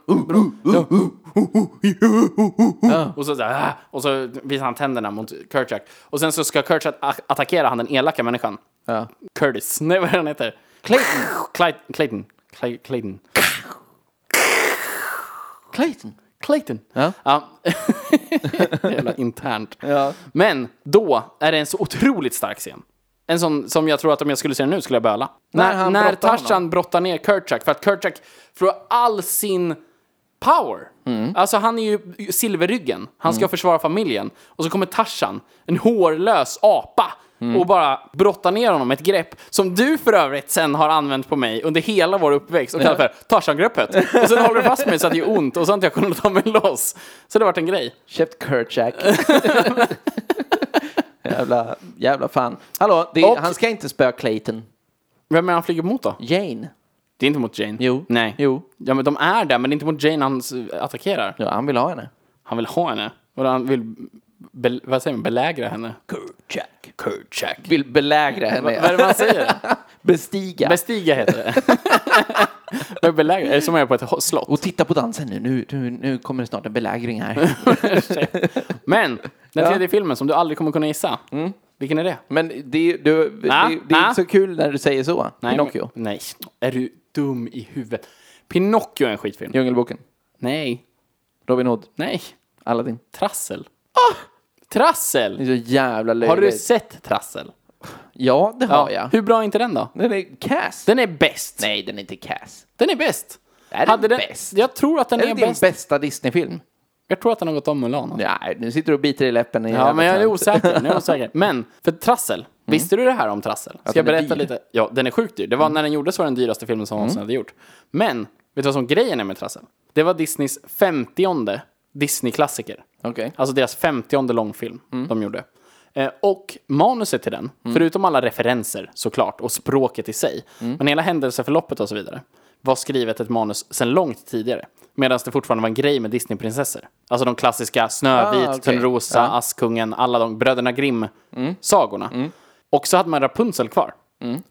Och så, så här, "Ah!" och så visar han tänderna mot Kurtzak. Och sen så ska Kurtzak a- attackera han den elaka människan.
Ja.
Curtis, nej vad är han heter?
Clayton.
Clayton. Clayton. Clay- Clayton.
Clayton.
Clayton.
Ja.
Jävla internt.
Ja.
Men då är det en så otroligt stark scen. En sån som jag tror att om jag skulle se den nu skulle jag böla. När,
han
när
brottar
Tarzan
honom.
brottar ner Kurtzak, för att Kurtzak förlorar all sin power.
Mm.
Alltså han är ju silverryggen. Han ska försvara familjen. Och så kommer Tarzan, en hårlös apa.
Mm.
Och bara brottar ner honom med ett grepp som du för övrigt sen har använt på mig under hela vår uppväxt och kallat för Tarzan-greppet. Och sen håller du fast mig så att det gör ont och så har inte jag kunnat ta mig loss. Så det har varit en grej.
Köpt Kerchak. jävla, jävla fan. Hallå, det,
Och-
han ska inte spöa Clayton.
Vem är han flyger mot då?
Jane.
Det är inte mot Jane.
Jo.
Nej.
Jo.
Ja men de är där, men det är inte mot Jane han s- attackerar.
Ja, han vill ha henne.
Han vill ha henne. Och han vill, be, vad säger man, belägra henne.
Kerchak.
Kurchak.
Vill belägra
Vad är
henne.
det man säger?
Bestiga.
Bestiga heter det. Vad är belägra? Är det som att jag är på ett ho- slott?
Och titta på dansen nu. Nu, nu, nu kommer det snart en belägring här.
Men, den tredje filmen som du aldrig kommer kunna gissa.
Mm.
Vilken är det?
Men det, du,
Ah,
det, det är
ah.
inte så kul när du säger så.
Nej,
Pinocchio.
men- Nej. Är du dum i huvudet? Pinocchio är en skitfilm.
Djungelboken.
Nej.
Robin Hood.
Nej.
Aladdin.
Trassel. Trassel!
Ah! Det är så jävla löjligt.
Har du sett Trassel?
Ja, det har jag.
Hur bra är inte den då?
Den är kass.
Den är bäst.
Nej, den är inte kass.
Den är bäst.
Är den
Hade
bäst?
Jag tror att den
Är
är,
det din
bäst.
bästa Disney-film?
Jag tror att den har gått om Mulan. Ja,
Nej, nu sitter du och biter i läppen. i
men jag är
överkant.
osäker. Nu är jag osäker. Men, för Trassel. Visste du det här om Trassel? Ska jag
Mm. den är
berätta
dyr. Mm.
lite? Ja, den är sjukt dyr. Det var när den gjordes var den dyraste filmen som någonsin hade gjort. Men, vet du vad som grejen är med Trassel? Det var Disneys 50 Disney-klassiker.
Okej.
Alltså deras 50 långfilm de gjorde. Eh, och manuset till den, förutom alla referenser såklart och språket i sig, men hela händelseförloppet och så vidare, var skrivet ett manus sedan långt tidigare. Medan det fortfarande var en grej med Disneyprinsessor. Alltså de klassiska Snövit,
Ah, okej.
Törnrosa, Askungen, alla de Bröderna Grimm-sagorna.
Mm.
Och så hade man Rapunzel kvar.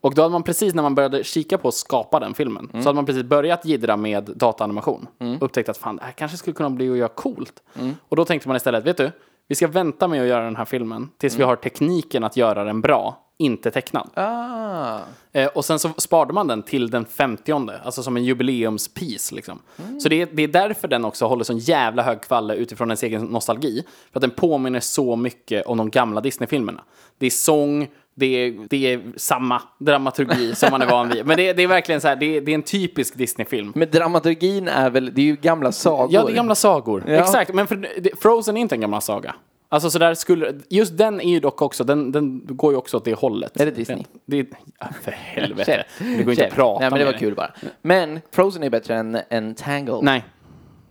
Och då hade man precis när man började kika på att skapa den filmen,
Mm.
så hade man precis börjat jiddra med dataanimation. Och upptäckt att fan, det här kanske skulle kunna bli att göra coolt.
Mm.
Och då tänkte man istället, vet du, vi ska vänta med att göra den här filmen
Mm.
tills vi har tekniken att göra den bra, inte tecknad.
Ah.
Eh, och sen så sparade man den till den 50 alltså som en jubileumspiece. Liksom. Så det är, det är därför den också håller sån jävla hög kvalle utifrån ens egen nostalgi. För att den påminner så mycket om de gamla Disney-filmerna. Det är sång, det är, det är samma dramaturgi som man är van vid. Men det, är- det är verkligen så här, det är, det är en typisk Disney-film.
Men dramaturgin är väl, det är ju gamla sagor.
Ja, det är gamla sagor.
Ja.
Exakt, men för, det, Frozen är inte en gammal saga. Alltså så där skulle, just den är ju dock också, den, den går ju också åt det hållet.
Är det Disney?
Det, är- ja, för helvete.
Käft.
Det går inte att
Käft.
prata
Nej, men det
med
var
dig.
kul bara. Men Frozen är bättre än, än Tangle.
Nej,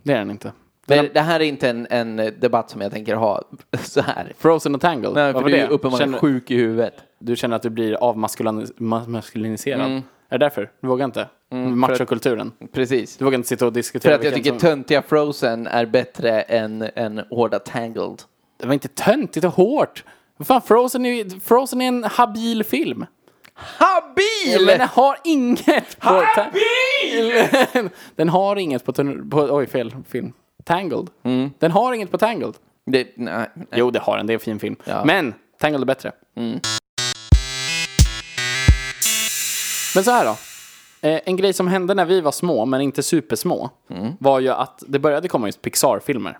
det är den inte.
Men det här är inte en, en debatt som jag tänker ha så här.
Frozen och Tangled,
Nej, för
vad var
du
det?
är uppenbarligen
känner,
sjuk i huvudet.
Du känner att du blir avmaskuliniserad?
Mm.
Är det därför? Du vågar inte? Machokulturen?
Precis.
Du vågar inte sitta och
Mm, För
diskutera?
att jag
vilken
tycker töntiga Frozen är bättre än, än hårda Tangled.
Det var inte töntigt och hårt! Vad Fan, Frozen, är, ju- Frozen är en habil film.
Habil!
Men den har inget på... Habil! den har inget på, tunnel- på... Oj, fel film. Tangled. Den har inget på Tangled.
Det, nej, nej.
Mm. Jo, det har den. Det är en fin film.
Ja.
Men Tangled är bättre. Men så här då. Eh, En grej som hände när vi var små, men inte supersmå, var ju att det började komma just Pixar-filmer.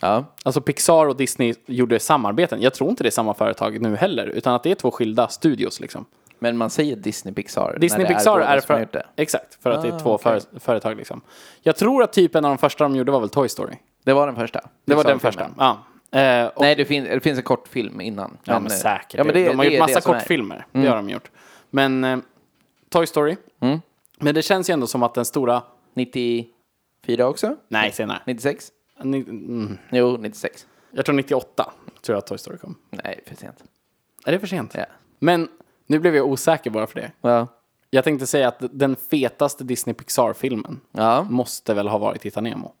Ja.
Alltså Pixar och Disney gjorde samarbeten. Jag tror inte det är samma företag nu heller, utan att det är två skilda studios liksom.
Men man säger Disney Pixar.
Disney
när det
Pixar
båda
är,
som har
för,
gjort det. Ah,
exakt, för att det är två före- företag liksom. Jag tror att typ en av de första de gjorde var väl Toy Story.
Det var den första.
Det var den första. Ja. Eh, och-
Nej, det, fin- det finns en kortfilm innan. eh,
Ja, men säkert. de har gjort
är
massa
som är. Mm.
kortfilmer. Det har de gjort. Men eh, Toy Story. Men det känns ju ändå som att den stora...
94 också?
Nej, senare.
96?
Ni, mm,
Jo, 96.
jag tror 98 tror jag att Toy Story kom.
Nej, för sent.
Är det för sent?
Ja.
Men nu blev jag osäker bara för det.
Ja.
Jag tänkte säga att den fetaste Disney Pixar-filmen
Ja.
måste väl ha varit Hitta Nemo.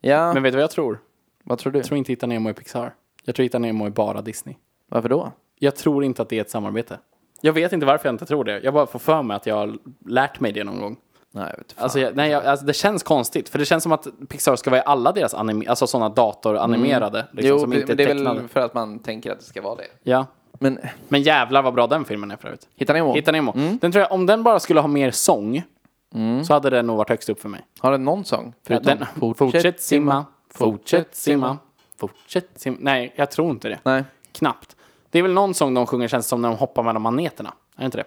ja.
Men vet du vad jag tror?
Vad tror du?
Jag tror inte Hitta Nemo är Pixar. Jag tror Hitta Nemo är bara Disney.
Varför då?
Jag tror inte att det är ett samarbete. Jag vet inte varför jag inte tror det. Jag bara får för mig att jag har lärt mig det någon gång.
Nej, jag vet fan.
Alltså, jag, nej, jag, alltså, det känns konstigt, för det känns som att Pixar ska vara i alla deras anime, alltså sådana datoranimerade. Liksom,
Mm. jo,
som
det,
inte är
det är
tecknade.
väl för att man tänker att det ska vara det.
Ja.
Men
Men jävlar vad bra den filmen är för övrigt.
Hitta Nemo.
Hitta Nemo.
Mm.
Den tror jag, om den bara skulle ha mer sång, så hade den nog varit högst upp för mig.
Har den någon sång? Mm. Förutom
den, fortsätt simma, fortsätt simma, fortsätt simma. Nej, jag tror inte det.
Nej.
Knappt. Det är väl någon sång de sjunger känns som när de hoppar mellan maneterna. Är det inte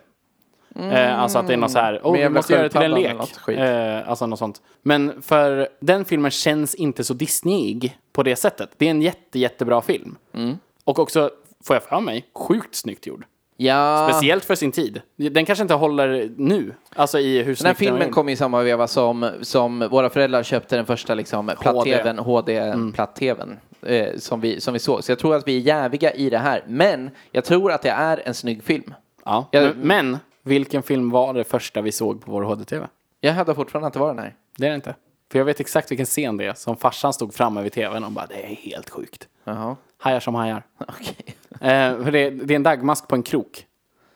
det? Eh, alltså att det är något så här, oh, vi
jävla
måste göra det till en
sköldpaddan
lek.
eller något skit.
Eh, alltså något sånt. Men för den filmen känns inte så Disneyig på det sättet. Det är en jätte, jättebra film. Och också, får jag för mig, sjukt snyggt gjord.
Ja,
Speciellt för sin tid. Den kanske inte håller nu. Alltså i hur
den här
snyggt var
filmen
gjord.
kom i samma veva som, som våra föräldrar köpte den första liksom, platt-tvn, Mm. HD-platt-tvn. Eh, som, vi, som vi såg. Så jag tror att vi är jäviga i det här. Men jag tror att det är en snygg film.
Ja.
Jag-
men, men vilken film var det första vi såg på vår HD-TV?
Jag hävdar fortfarande att det var den här.
Det är det inte. För jag vet exakt vilken scen det är som farsan stod framme vid tvn och bara det är helt sjukt.
Jaha,
Hajar som hajar.
okej.
Eh, för det, det är en dagmask på en krok.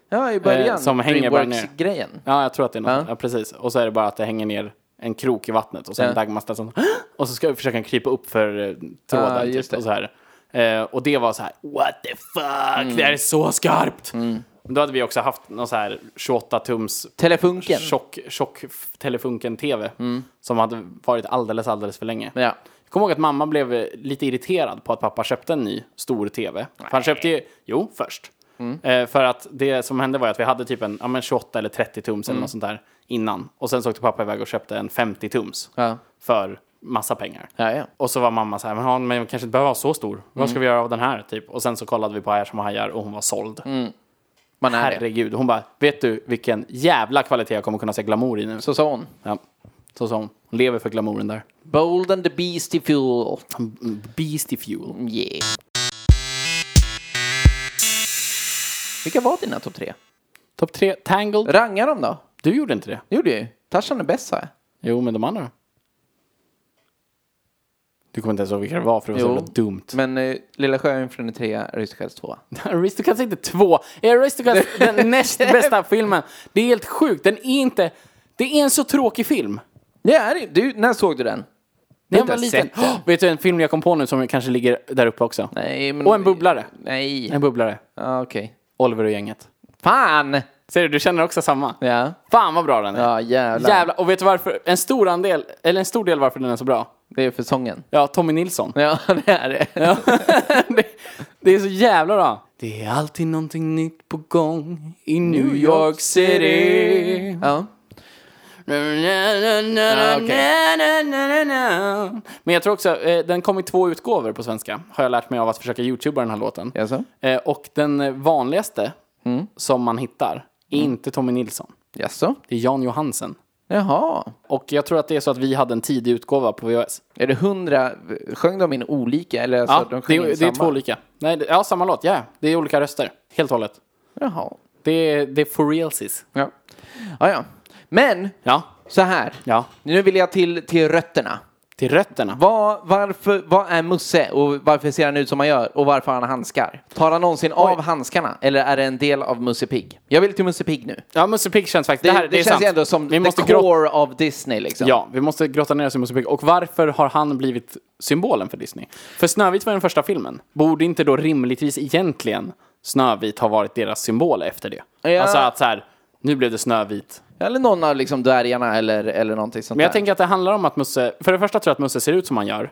Ja, i början.
Eh, som hänger bara ner.
Dreamworks-grejen.
Ja, jag tror att det är något.
Ja.
Ja. precis. Och så är det bara att det hänger ner en krok i vattnet och sen
Ja.
en dagmask där som och så ska jag försöka krypa upp för eh, tråden.
Ah,
typ,
just det.
Och, så här. Eh, och det var så här, what the fuck,
Mm.
det här är så skarpt. Men Då hade vi också haft någon så här 28 tums
Telefunken.
tjock, tjock f- telefunken-tv som hade varit alldeles, alldeles för länge.
Mm. Ja.
Jag kommer ihåg att mamma blev eh, lite irriterad på att pappa köpte en ny stor tv. För han köpte ju, jo, först.
Mm.
Eh, för att det som hände var ju att vi hade typ en ja, men 28 eller 30 tums
Mm.
eller något sånt där innan. Och sen så åkte pappa iväg och köpte en 50 tums
Ja.
för massa pengar.
Ja, Mm. ja.
Och så var mamma så här, men, ja, men vi kanske inte behöver vara så stor. Vad ska vi göra av den här? Typ. Och sen så kollade vi på Hajar som hajar och hon var såld.
Mm, Man är det.
Herregud, hon bara, vet du vilken jävla kvalitet jag kommer kunna se glamour i nu?
Så sa hon.
Ja. Så sa hon. Hon lever för glamouren där.
Bold and the Beastie Fuel.
Beastie fuel.
Yeah. Vilka var dina topp tre?
Topp tre, Tangled.
Ranga dem då.
Du gjorde inte det?
Det gjorde jag ju. Tarzan är bäst sa jag.
Jo, men de andra Du kommer inte ens ihåg vilka det var, för det var så
Jo.
jävla dumt.
Men eh, Lilla Sjöjungfrun är trea, Aristocats tvåa.
Aristocats är inte två. Är Aristocats den näst bästa filmen? Det är helt sjukt. Den är inte... Det är en så tråkig film.
Det är det ju. du, När såg du den?
När jag
inte
var liten.
sett den.
Åh, vet du en film jag kom på nu som kanske ligger där uppe också?
Nej, men...
Och en bubblare.
Nej.
En bubblare.
Ja, okej.
Oliver och gänget.
Fan!
Ser du, du känner också samma.
Ja.
Fan vad bra den är.
Ja, jävlar.
Jävlar. Och vet du varför? En stor andel, eller en stor del varför den är så bra?
Det är för sången.
Ja, Tommy Nilsson.
Ja, det är det.
det, det är så jävla bra. Det är alltid någonting nytt på gång i New York City. Ah,
Ja.
Na, na, na, na, na, na. Men jag tror också, eh, den kom i två utgåvor på svenska. Har jag lärt mig av att försöka youtuba den här låten.
Jaså?
Eh, och den eh, vanligaste som man hittar är inte Tommy Nilsson.
Jaså?
Det är Jan Johansen.
Jaha.
Och jag tror att det är så att vi hade en tidig utgåva på VHS.
Är det hundra? Sjöng de in olika? Eller alltså,
Ja,
de sjöng
det,
in
är- det
samma?
är två olika. Nej, det, ja, samma låt. Ja, det är olika röster. Helt och hållet.
Jaha.
Det är, det är for realsies.
Ja. ja, ja. Men,
Ja,
så här.
ja.
Nu vill jag till, till rötterna.
Till rötterna.
Vad, varför, vad är Musse och varför ser han ut som han gör och varför har han handskar? Tar han någonsin av handskarna eller är det en del av Musse Pigg? Jag vill till Musse Pigg nu. Det,
Ja, Musse Pigg känns faktiskt... Det, här, det, är
känns
sant.
ju ändå som
vi måste
the
grotta-
core of Disney liksom.
Ja, vi måste grotta ner oss i Musse Pigg. Och varför har han blivit symbolen för Disney? För Snövit var den första filmen. Borde inte då rimligtvis egentligen Snövit ha varit deras symbol efter det?
Ja.
Alltså att så här, nu blev det Snövit.
Eller någon av liksom dvärgarna eller, eller någonting sånt
Men jag
där.
tänker att det handlar om att Musse, för det första tror jag att Musse ser ut som han gör,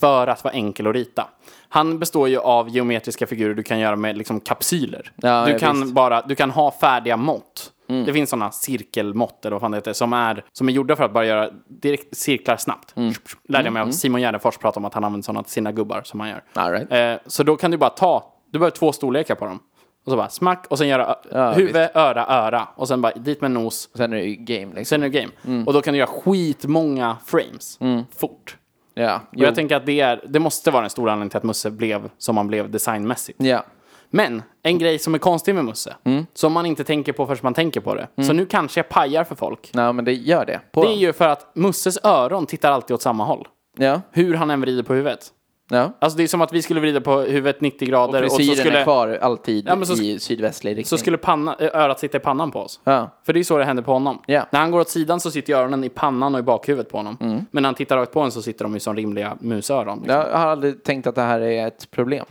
för att vara enkel att rita. Han består ju av geometriska figurer du kan göra med liksom kapsyler.
Ja,
du,
ja,
kan
visst. Mm.
bara, du kan ha färdiga mått. Det finns sådana cirkelmått, eller vad fan det heter, som är, som är gjorda för att bara göra direkt cirklar snabbt.
Mm.
Lärde jag mig av Simon Gärdenfors prata om att han använder sådana till sina gubbar som han gör.
All right.
Eh, så då kan du bara ta, du behöver två storlekar på dem. Och så bara smack, och sen göra ö- huvud, öra, öra. Och sen bara dit med nos,
Sen är det ju game liksom.
Sen är det game. Och då kan du göra skitmånga frames
Mm.
fort.
Ja,
Och jag tänker att det, är, det måste vara en stor anledning till att Musse blev som han blev designmässigt.
ja. Mm.
Men en grej som är konstig med Musse, som man inte tänker på förrän man tänker på det. Så nu kanske jag pajar för folk.
Nej, men det gör det. På
Det är ju för att Musses öron tittar alltid åt samma håll.
Ja,
Hur han än vrider på huvudet.
ja.
Alltså det är som att vi skulle vrida på huvudet 90 grader och,
Frisyren
så, skulle,
är kvar alltid
Ja, men så sk-
i sydvästlig riktning.
så skulle panna, ö- örat sitta i pannan på oss.
Ja.
För det är så det händer på honom.
Ja.
När han går åt sidan så sitter ju öronen i pannan och i bakhuvudet på honom. Men när han tittar rakt på en så sitter de ju som rimliga musöron. Liksom.
Jag har aldrig tänkt att det här är ett problem.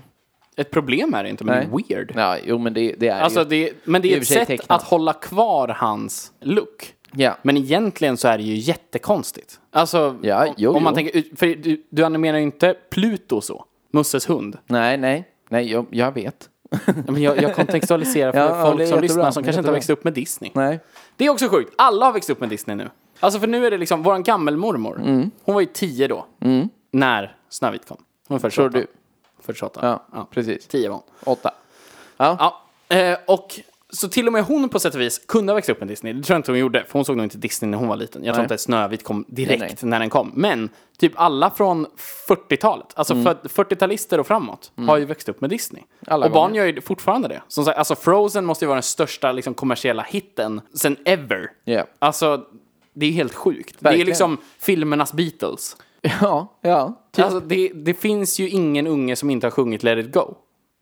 Ett problem är det inte, men
Nej.
det är weird.
Ja, jo, men det, det är
Alltså
ju...
det, men
i och
det är
för
ett
sig
sätt
tecknat.
att hålla kvar hans look.
Ja.
Men egentligen så är det ju jättekonstigt. Alltså,
Ja,
om-
jo,
om man
jo.
tänker, för du, du animerar ju inte Pluto så, Musses hund.
Nej, nej. Nej, jag, jag vet.
Men jag, jag kontextualiserar för
Ja, ja,
folk
det är
som
jättebra.
lyssnar som kanske inte har
Jättebra.
växt upp med Disney.
Nej.
Det är också sjukt. Alla har växt upp med Disney nu. Alltså för nu är det liksom, våran gammelmormor,
Mm.
hon var ju 10 då. När Snövit kom. Hon är född 28.
du.
Född 28.
Ja, precis.
10 var hon.
Åtta.
Ja, eh, och så till och med hon på sätt och vis kunde ha växt upp med Disney. Det tror jag inte hon gjorde, för hon såg nog inte Disney när hon var liten. Jag tror inte att Snövit kom direkt
Nej,
när den kom. Men typ alla från 40-talet, alltså född- 40-talister och framåt, har ju växt upp med Disney.
Mm. Alla
och barn
gånger.
gör ju fortfarande det. Som sagt, alltså Frozen måste ju vara den största liksom, kommersiella hitten sen ever.
Ja.
Alltså, det är helt sjukt. Det är
Verkligen.
liksom filmernas Beatles.
Ja, ja. Typ.
Alltså, det, det finns ju ingen unge som inte har sjungit Let it go.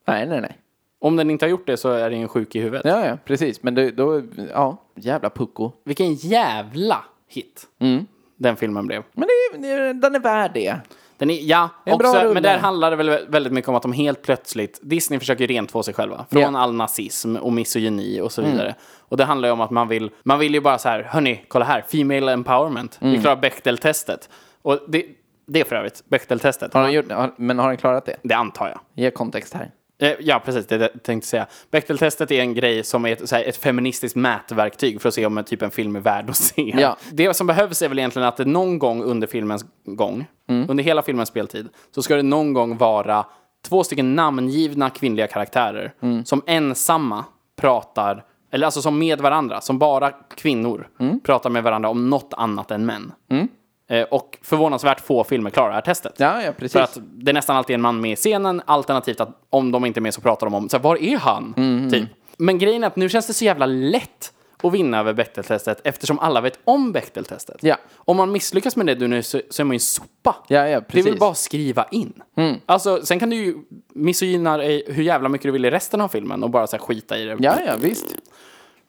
Nej, nej, nej.
Om den inte har gjort det så är den ju sjuk i huvudet.
Ja, ja, precis. Men det, då, ja. Jävla pucko.
Vilken jävla hit Mm, den filmen blev.
Men det, det, den är värd det.
Den är, ja,
En bra
också,
rulle.
men där handlar det väl väldigt mycket om att de helt plötsligt, Disney försöker rentvå sig själva från
Ja.
all nazism och misogyni och så vidare. Och det handlar ju om att man vill, man vill ju bara så här, hörni, kolla här, female empowerment, vi klarar Bechdel-testet. Och det, det är för övrigt Bechdel-testet,
Har den gjort, har, men har den klarat det?
det antar jag.
Ge kontext här.
Eh, Ja, precis. Det jag tänkte säga. Bechdel-testet är en grej som är ett, så här, ett feministiskt mätverktyg för att se om en, typ en film är värd att se.
Ja.
Det som behövs är väl egentligen att det någon gång under filmens gång,
Mm.
under hela filmens speltid, så ska det någon gång vara två stycken namngivna kvinnliga karaktärer
Mm.
som ensamma pratar, eller alltså som med varandra, som bara kvinnor
Mm.
pratar med varandra om något annat än män. Eh, Och förvånansvärt få filmer klarar det här testet.
Ja, ja, precis.
För att det är nästan alltid en man med i scenen, alternativt att om de inte är med så pratar de om så här, var är han?
Mhm.
Typ. Men grejen är att nu känns det så jävla lätt att vinna över Bechdel-testet eftersom alla vet om Bechdel-testet.
Ja.
Om man misslyckas med det du nu så, så är man ju en sopa.
Ja, ja,
det är väl
precis. Mm.
bara att skriva in. Alltså, sen kan du ju misogyna dig hur jävla mycket du vill i resten av filmen och bara så här, skita i det.
Ja, ja, visst.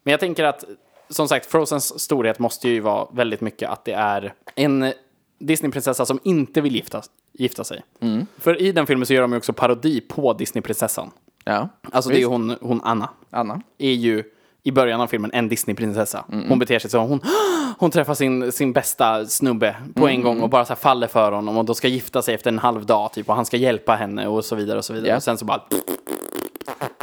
Men jag tänker att, som sagt, Frozens storhet måste ju vara väldigt mycket att det är en Disneyprinsessa som inte vill gifta, gifta sig.
Mm.
För i den filmen så gör de ju också parodi på Disneyprinsessan.
Ja.
Alltså det är ju hon, hon Anna,
Anna.
är ju i början av filmen en Disneyprinsessa. Hon beter sig som hon, hon träffar sin, sin bästa snubbe på en gång och bara så här faller för honom och de ska gifta sig efter en halv dag typ och han ska hjälpa henne och så vidare och så vidare.
Ja.
Och sen så bara...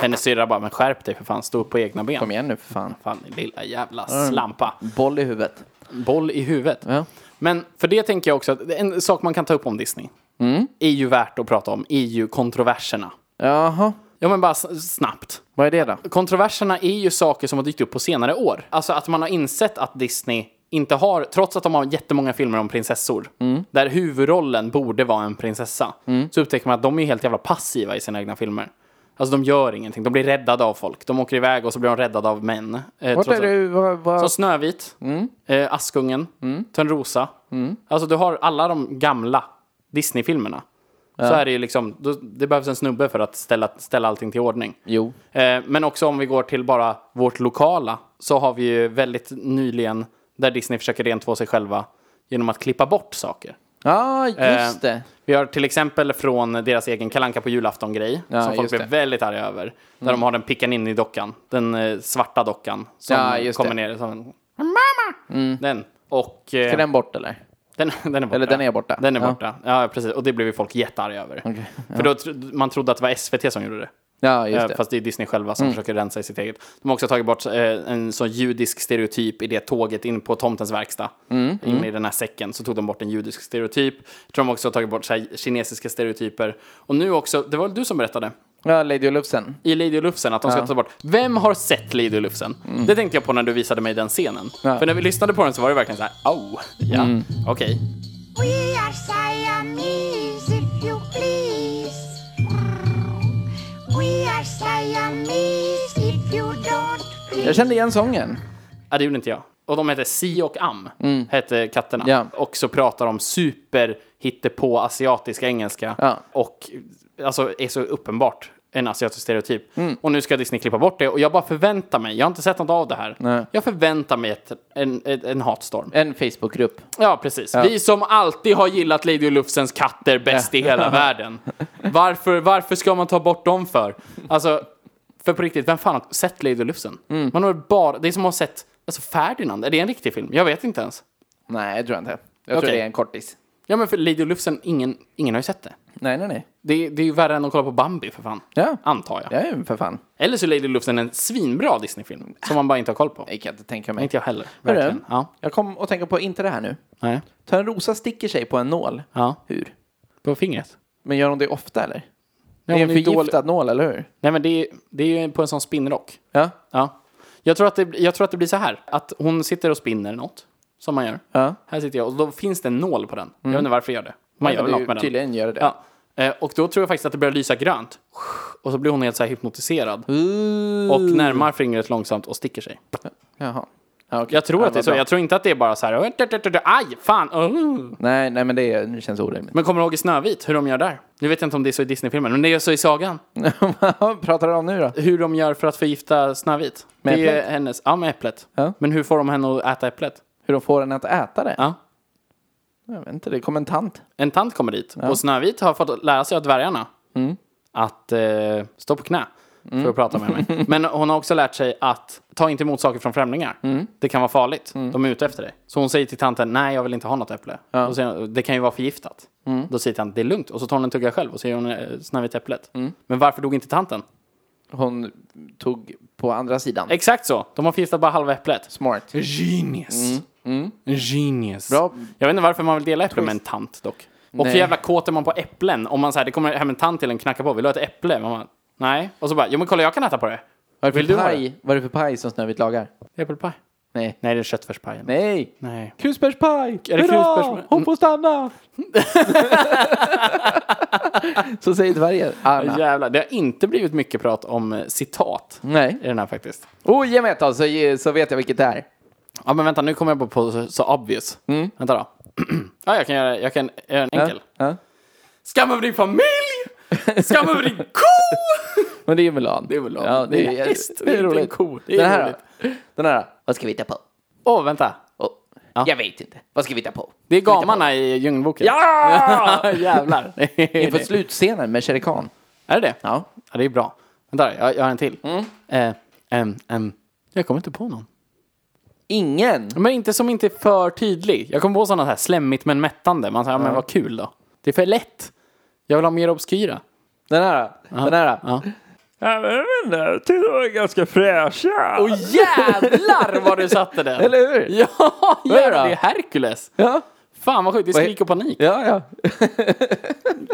Hennes syrra bara, men skärp dig för fan, stå upp på egna ben.
Kom igen nu för fan.
Fan, din lilla jävla slampa.
Boll i huvudet.
Boll i huvudet.
Ja.
Men för det tänker jag också att en sak man kan ta upp om Disney
Mm.
är ju värt att prata om, är ju kontroverserna.
Jaha.
Ja men bara s- snabbt.
Vad är det då?
Kontroverserna är ju saker som har dykt upp på senare år. Alltså att man har insett att Disney inte har, trots att de har jättemånga filmer om prinsessor,
Mm.
där huvudrollen borde vara en prinsessa, så upptäcker man att de är helt jävla passiva i sina egna filmer. Alltså de gör ingenting, de blir räddade av folk. De åker iväg och så blir de räddade av män. Eh,
Vart
trots
är
att-
du? Vad,
som
vad?
Snövit, eh, Askungen, Törnrosa. Alltså du har alla de gamla Disney-filmerna. Så är det ju liksom, då, det behövs en snubbe för att ställa, ställa allting till ordning.
Jo.
Eh, men också om vi går till bara vårt lokala så har vi ju väldigt nyligen där Disney försöker rentvå sig själva genom att klippa bort saker.
Ja, just
Eh,
det.
Vi har till exempel från deras egen Kalanka på julafton-grej
Ja,
som folk
just
blev
det. Mm.
väldigt arga över. Där de har den pickan in i dockan, den eh, svarta dockan som
Ja, just
kommer
det. Mm.
ner som en mamma. Den. Och, eh,
Ska den bort eller?
den, den är borta.
Eller den är borta.
Den är
Ja.
borta. Ja, precis. Och det blev ju folk jättearga över. För då tro- man trodde att det var SVT som gjorde det.
Ja, just
Eh,
det. Mm.
Fast det är Disney själva som försöker rensa i sitt eget. De har också tagit bort eh, en sån judisk stereotyp i det tåget in på tomtens verkstad.
Mm,
In i den här säcken så tog de bort en judisk stereotyp. Jag tror de också har tagit bort så här, kinesiska stereotyper. Och nu också, det var väl du som berättade?
Ja, Lady och Lufsen.
I Lady och Lufsen, att de ska ta bort. Vem har sett Lady och Lufsen?
Mm.
Det tänkte jag på när du visade mig den scenen. För när vi lyssnade på den så var det verkligen så här, au, ja,
Mm.
okej.
We are Siamese, if you please. We are Siamese, if you don't please.
Jag kände igen sången.
Ja, det gjorde inte jag. Och de heter Si och Am, hette katterna.
Mm. Ja.
Och så pratar de super på asiatisk engelska.
Ja.
Och alltså är så uppenbart en asiatisk stereotyp.
Mm.
Och nu ska Disney klippa bort det. Och jag bara förväntar mig, jag har inte sett något av det här.
Nej.
Jag förväntar mig ett, en, en, en hatstorm.
En Facebookgrupp.
Ja, precis. Vi som alltid har gillat Lady och Lufsens katter bäst i hela världen. Varför, varför ska man ta bort dem för? Alltså, för på riktigt, vem fan har sett Lady och Lufsen?
Mm.
Man har väl bara, det är som att ha sett alltså Ferdinand. Är det en riktig film? Jag vet inte ens.
Nej, jag tror inte. Jag
Okej.
tror det är en kortis.
Ja, men för Lady och Lufsen, ingen, ingen har ju sett det.
Nej, nej, nej.
Det, det är ju värre än att kolla på Bambi för fan.
Ja.
Antar jag.
Det är ju för fan.
Eller så är Lady Lufsen en svinbra Disney-film som man bara inte har koll på.
Det kan jag inte tänka
Nej,
mig.
inte jag heller.
Hörru,
Verkligen. Ja.
Jag kom och tänka på, inte det här nu.
Nej.
Törnrosa sticker sig på en nål.
Ja.
Hur?
På fingret.
Men gör hon det ofta eller?
Ja,
det är en
hon ju
förgiftad
dålig-
nål, eller hur?
Nej, men det är, det är ju på en sån spinnrock.
Ja.
Ja. Jag tror, att det, jag tror att det blir så här. Att hon sitter och spinner något. Som man gör.
Ja.
Här sitter jag och då finns det en nål på den. Jag vet inte varför jag gör det. Man gör väl något med den.
Tydligen gör det det.
Ja. Eh, Och då tror jag faktiskt att det börjar lysa grönt. Och så blir hon helt så här hypnotiserad.
Ooh.
Och närmar fingret långsamt och sticker sig.
Jaha. Ja, okej.
Jag tror
Ja,
att det är
vad
så.
bra.
Jag tror inte att det är bara så här. "Oj, tut, tut, tut, Aj, fan. uh."
Nej, nej, men det, är, det känns orimligt.
Men kommer du ihåg i Snövit hur de gör där? Nu vet jag inte om det är så i Disney-filmen, men det är så i sagan.
Vad pratar du om nu då?
Hur de gör för att förgifta Snövit.
Med
det är
äpplet?
hennes, ja, med äpplet.
Ja.
Men hur får de henne att äta äpplet?
Hur de får henne att äta det?
Ja.
Jag vet inte, det kom en tant.
En tant kommer dit och Snövit har fått lära sig av dvärgarna att eh, stå på knä för att prata med mig. Men hon har också lärt sig att ta inte emot saker från främlingar. Det kan vara farligt. De är ute efter dig. Så hon säger till tanten, nej jag vill inte ha något äpple. Då säger hon, det kan ju vara förgiftat. Då säger tanten, det är lugnt. Och så tar hon en tugga själv och så ger hon eh, Snövit äpplet. Men varför dog inte tanten?
Hon tog på andra sidan.
Exakt så. De har förgiftat bara halva äpplet.
Smart.
Genius. Genius.
Mm, Bra.
Jag vet inte varför man vill dela äpplen med en tant dock. Och
Nej.
hur jävla kåt är man på äpplen? Om man säger det kommer hem en tant till en och knackar på, vill du ha ett äpple? Man bara, nej. Och så bara, jo men kolla jag kan äta på det.
Vad är
Vill
det
du
för
ha
paj, vad är det för paj som Snövit lagar?
Äppelpaj?
Nej.
Nej, det är köttfärspaj.
Nej!
nej.
Krusbärspaj!
Är det krusbärs-
Hurra! Hon får stanna! Så säger dvärgen. Arna.
Jävlar, det har inte blivit mycket prat om eh, citat
Nej.
i den här faktiskt.
Oh, ge mig ett då, så, så vet jag vilket det är.
Ja men vänta, nu kommer jag på, på så, så obvious. Vänta då. ja, jag kan göra jag kan göra en enkel.
Mm. Ja.
Skam över din familj! Skam över din ko!
Men det är ju Mulan.
Det är Mulan.
Ja, det, är,
Det är häst,
det är
inte en
roligt.
ko. Det är
Den här
roligt.
då? Den här då? Vad ska vi hitta på?
Åh, vänta.
Oh. Jag vet inte. Vad ska vi hitta på?
Det är gamarna i Djungelboken.
Ja!
Jävlar.
Inför slutscenen med Shere Khan.
Är det det?
Ja.
Ja, det är bra. Vänta, jag, jag har en till. Eh, em, em. jag kommer inte på någon.
Ingen!
Men inte som inte är för tydlig. Jag kommer på sådana här slemmigt men mättande. Man säger, ja. men vad kul då. Det är för lätt. Jag vill ha mer obskyra.
Den här då? Den här då?
Ja.
Ja, men jag menar, tyckte de var ganska fräscha.
Och jävlar vad du satte den!
Eller hur?
Ja,
är det
jävlar,
då?
det är Herkules.
Ja,
Fan vad sjukt, det är
he-
skrik och panik.
ja. ja.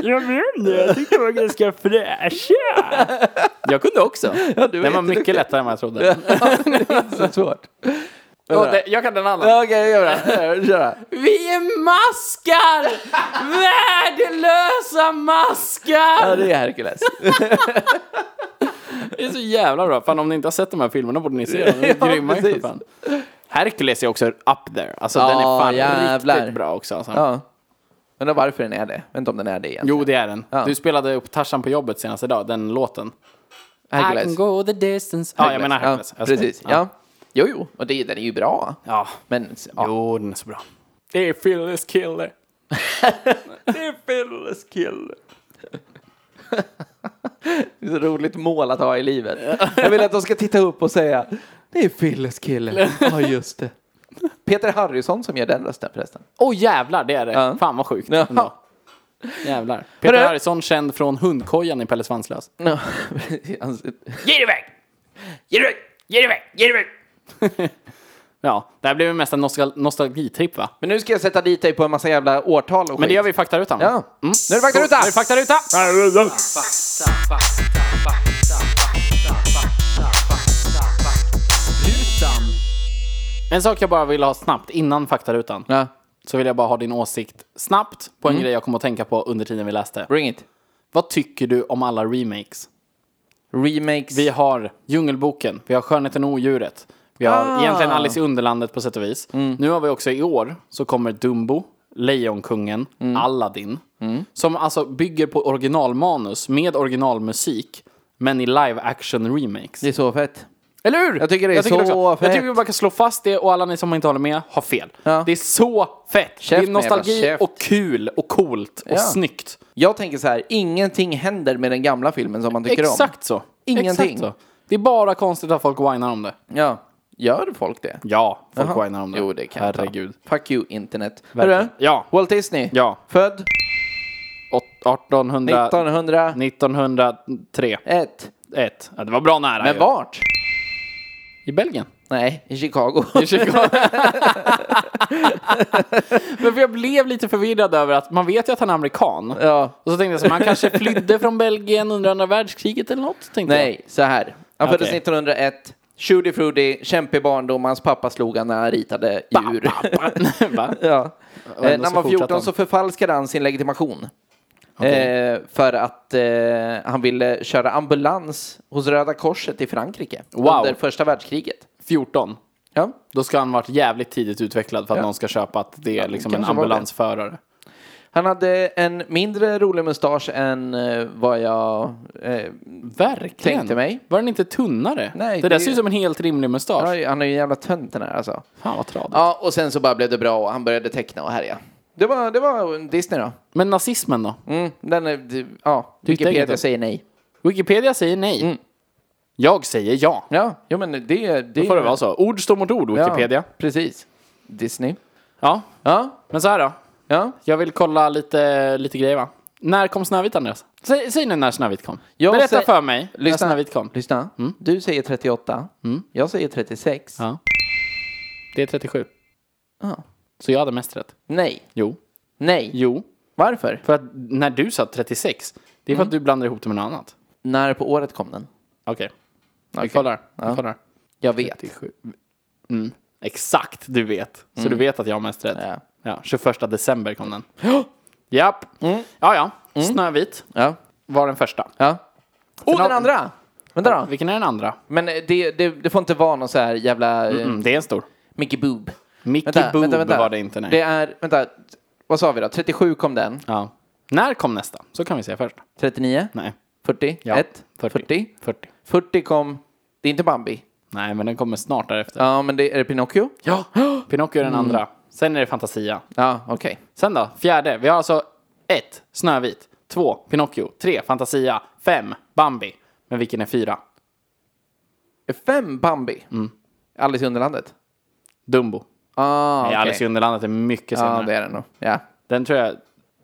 Jag menar, jag tyckte det var ganska fräscha. Jag kunde också.
du
den
var
var mycket lättare än vad jag trodde.
Så svårt.
Och det, jag kan den andra.
Ja, Okej, gör det. Kör det.
Vi är maskar! Värdelösa maskar!
Ja, det är Hercules.
Det är så jävla bra. Fan om ni inte har sett de här filmerna borde ni se dem. De är
Ja,
grymma ju för
precis.
fan. Hercules är också up there. Alltså
Ja,
den är fan
jävlar.
riktigt bra också. Alltså.
Ja. Undrar varför den är det. Vet inte om den är det igen.
Jo, det är den.
Ja.
Du spelade upp Tarzan på jobbet senast idag, den låten. I can
Hercules.
go the distance. Ja, jag menar Hercules.
Ja,
Jag skojar.
precis. Ja.
Ja.
Jo, jo. Och det, den är ju bra.
ja.
Men ja.
Jo, den är så bra. Det är Phyllis killer.
det är så roligt mål att ha i livet. Jag vill att de ska titta upp och säga det är Philles kille. Ja, just det. Peter Harrison som gör den rösten förresten.
Åh jävlar, det är det.
Ja.
Fan vad sjukt.
Ja.
ändå. Jävlar. Peter
Hörru.
Harrison känd från hundkojan i Pelle Svanslös.
Ja. Hans-
Ja, det här blev ju mest en nostal- nostalgitripp va?
Men nu ska jag sätta dit dig på en massa jävla årtal och
Men det
skit.
gör vi i faktarutan. Mm.
Ja. Nu är det faktaruta!
Nu är det faktaruta! En sak jag bara vill ha snabbt innan faktarutan.
Ja.
Så vill jag bara ha din åsikt snabbt på en grej jag kom att tänka på under tiden vi läste.
Bring it.
Vad tycker du om alla remakes?
Remakes.
Vi har Djungelboken, vi har Skönheten och Odjuret. Vi har
Ah. Mm.
egentligen Alice i Underlandet på sätt och vis. Nu har vi också i år så kommer Dumbo, Lejonkungen,
Mm.
Aladdin. Som alltså bygger på originalmanus med originalmusik. Men i live action remakes.
Det är så fett.
Eller hur?
Jag tycker det är så
också- Jag
fett.
tycker vi bara kan slå fast det och alla ni som inte håller med har fel.
Ja.
Det är så fett.
Käft
det är
med
nostalgi
jävla käft.
och kul och coolt och
Ja.
snyggt.
Jag tänker så här, ingenting händer med den gamla filmen som man tycker om.
Exakt så.
Ingenting.
Exakt så. Det är bara konstigt att folk whinar om det.
Ja. Gör folk det?
Ja, folk
Jaha.
whinar om det.
Jo, det kan jag
Herregud.
ta. Fuck you, internet.
Verkligen.
Hörru,
Ja.
Walt Disney.
Ja.
Född
Åt- 1800...
1901.
1903. Ett. Ja, det var bra nära
Men
ju.
vart?
I Belgien.
Nej, i Chicago.
I Chicago. Men för jag blev lite förvirrad över att man vet ju att han är amerikan.
Ja.
Och så tänkte jag så här, man kanske flydde från Belgien under andra världskriget eller något. Tänkte
Nej, så här. Han föddes
Okej.
1901. Tutti frutti, kämpig barndom. Hans pappa slog han när han ritade
jag.
djur.
Ba, ba, ba.
Ja. Eh, när
ändå så
han var
fortsatte
14
han.
så förfalskade han sin legitimation. Eh, för att eh, han ville köra ambulans hos Röda Korset i Frankrike
Wow.
under första världskriget.
14.
Ja.
Då ska han varit jävligt tidigt utvecklad för att någon ska köpa att det är liksom en
kanske var det.
ambulansförare.
Han hade en mindre rolig mustasch än eh, vad jag... Eh,
Verkligen.
Tänkte mig.
Var den inte tunnare?
Nej,
det, där
det-
ser ut som en helt rimlig mustasch.
ja, han är ju en jävla tönt den här alltså.
Fan vad tradigt.
Ja, och sen så bara blev det bra och han började teckna och härja. Det var, det var Disney då.
Men nazismen då?
Mm, den är, det- ja,
hittar inget då?
Wikipedia säger nej.
Wikipedia säger nej. Jag säger ja.
Ja, jo, men det... det
Då får det vara så. Ord står mot ord, Wikipedia.
Ja, precis. Disney.
Ja.
Ja,
Men så här då.
ja.
Jag vill kolla lite, lite grejer va. När kom Snövit Andreas? Säg, säg nu när Snövit kom.
Jag
Berätta
säger-
för mig när
Lyssna.
Snövit kom.
Lyssna. Du säger 38. Jag säger 36.
Ja. Det är 37.
Ja.
Så jag hade mest rätt.
Nej.
Jo.
Nej.
Jo.
Varför?
För att när du sa 36, det är för att du blandar ihop det med något annat.
När på året kom den?
Okej. Vi kollar. Vi kollar.
Jag vet.
37. Mm. Exakt, du vet. Så du vet att jag har mest rätt.
Ja.
Mm. Ja, 21 december kom den. Japp. Mm.
Mm.
Ja, ja. Snövit
Ja.
var den första.
Ja. Och
har-
den andra! Vänta då.
Vilken är den andra?
Men eh, det, det, det får inte vara någon så här jävla eh,
Mm, det är en stor.
Mickey Boob.
Mickey Boob var det inte, nej.
Det är, vänta, vad sa vi då? 37 kom den.
Ja. När kom nästa? Så kan vi säga först.
39?
Nej.
40?
Ja.
1?
40.
40?
40.
40 kom, det är inte Bambi.
Nej, men den kommer snart därefter.
Ja, men det, är det Pinocchio?
Ja. Mm. Pinocchio är den andra. Sen är det Fantasia.
Ja, okej.
Sen då? Fjärde. Vi har alltså ett, Snövit. Två, Pinocchio. Tre, Fantasia. Fem, Bambi. Men vilken är fyra?
Fem Bambi?
Mm.
Alice i Underlandet?
Dumbo.
Ah,
Nej,
okej.
Alice i Underlandet är mycket senare.
Ja, det är det nog. Ja.
Den tror jag,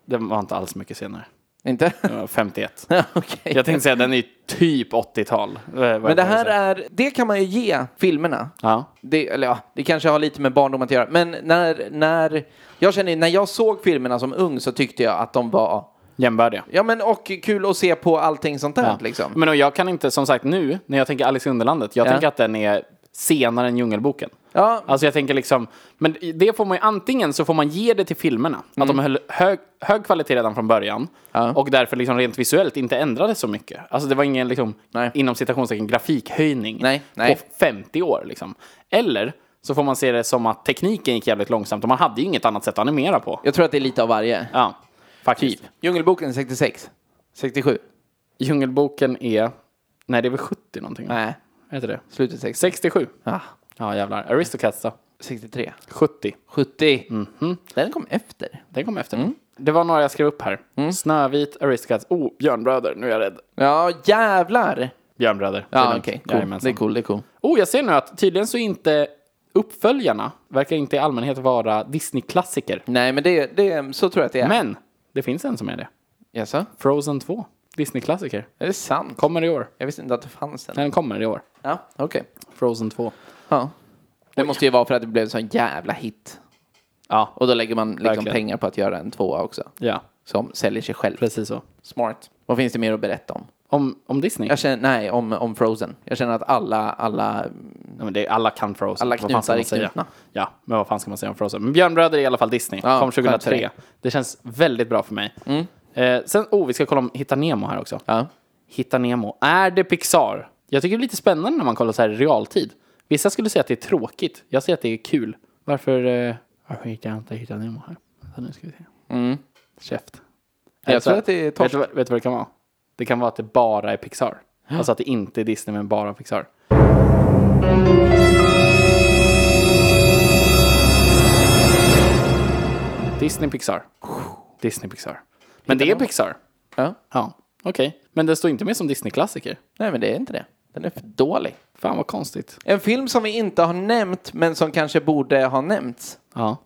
den var inte alls mycket senare.
Inte?
Den var 51.
okej.
Jag tänkte säga den är typ 80-tal.
Men det här är, det kan man ju ge filmerna.
Ja.
Det, eller ja, det kanske har lite med barndom att göra. Men när, när, jag känner ju, när jag såg filmerna som ung så tyckte jag att de var,
Jämbördiga.
ja men och kul att se på allting sånt där
Ja.
liksom.
Men och jag kan inte, som sagt nu, när jag tänker Alice i Underlandet, jag
Ja.
tänker att den är senare än Djungelboken.
Ja.
Alltså jag tänker liksom, men det får man ju antingen så får man ge det till filmerna,
Mm.
att de höll hög, hög kvalitet redan från början och därför liksom rent visuellt inte ändrades så mycket. Alltså det var ingen liksom,
Nej.
inom citationstecken grafikhöjning
Nej, nej.
på 50 år liksom. Eller så får man se det som att tekniken gick jävligt långsamt och man hade ju inget annat sätt att animera på.
Jag tror att det är lite av varje.
Ja, faktiskt.
Djungelboken 66? 67?
Djungelboken är, nej det är väl 70 någonting?
Nej,
Heter det?
slutet 60.
67.
Ah,
Ja jävlar. Aristocats då?
63?
70.
70? Den kom efter.
Den kom efter. Mm. Det var några jag skrev upp här. Snövit, Aristocats. Oh, Björnbröder. Nu är jag rädd.
Ja, jävlar!
Björnbröder. Det är
Ja,
lugnt.
okej. Cool. Det
Jajamensan.
är cool, det är cool.
Oh, jag ser nu att tydligen så är inte uppföljarna verkar inte i allmänhet vara Disney-klassiker.
Nej, men det, det, så tror jag att det är.
Men det finns en som är det.
Jaså?
Frozen 2. Disney-klassiker.
Är det sant?
Kommer i år.
Jag visste inte att det fanns en.
Den kommer i år.
Ja, okej.
Frozen 2.
Ja. Det måste ju vara för att det blev en sån jävla hit.
Ja,
Och då lägger man liksom
Verkligen.
pengar på att göra en tvåa också.
ja.
Som säljer sig själv.
precis så.
Smart. Vad finns det mer att berätta om?
Om, om Disney?
Jag känner, nej, om, om Frozen. Jag känner att alla, alla...
Ja, men det är, alla kan Frozen.
Alla
Vad fan
knutar
ska man
är
säga?
knutna.
Ja, men vad fan ska man säga om Frozen? Men Björnbröder är i alla fall Disney.
Ja,
Kom 2003.
skönt
Det känns väldigt bra för mig. Eh, sen, oh, vi ska kolla om Hitta Nemo här också.
Ja.
Hitta Nemo. Är det Pixar? Jag tycker det är lite spännande när man kollar så här i realtid. Vissa skulle säga att det är tråkigt. Jag säger att det är kul. Varför, eh, varför hittar jag inte Hitta Nemo här? Vänta, nu ska vi se. Käft.
Mm. Jag
Eller så
tror
här,
att det är
vet,
torsk.
du vad- vet du vad det kan vara? Det kan vara att det bara är Pixar. Alltså att det inte är Disney men bara Pixar. Disney Pixar. Disney Pixar. Men det är Pixar.
Ja.
Ja, okej. Men det står inte med som Disney-klassiker.
Nej, men det är inte det. Den är för dålig.
Fan vad konstigt.
En film som vi inte har nämnt, men som kanske borde ha nämnts.
Ja.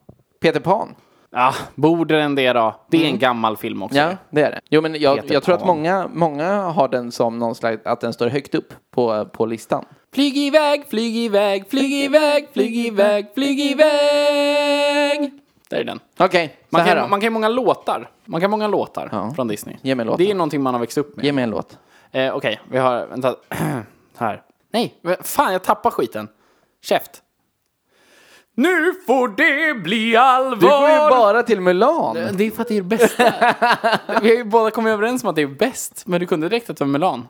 Peter Pan.
Ja, borde den det då? Det är en gammal film också.
Mm. Ja, det är det. Jo, men jag,
Peter
jag tror att
Pan.
många, många har den som någon slags, att den står högt upp på, på listan.
Flyg iväg, flyg iväg, flyg iväg, flyg iväg, flyg iväg. Där är den.
Okej, så
Man
här
kan,
då.
man kan ju många låtar. Man kan många låtar
Ja.
från Disney.
Ge mig låtar.
Det är någonting man har växt upp med.
Ge mig en låt.
Eh, Okej, vi har... Vänta. här. Nej, men fan jag tappar skiten. Käft. Nu får det bli
Du går ju
allvar!
bara till Mulan.
Det är för att det är det bästa. vi har ju båda kommit överens om att det är bäst, men du kunde direkt att det var Milan.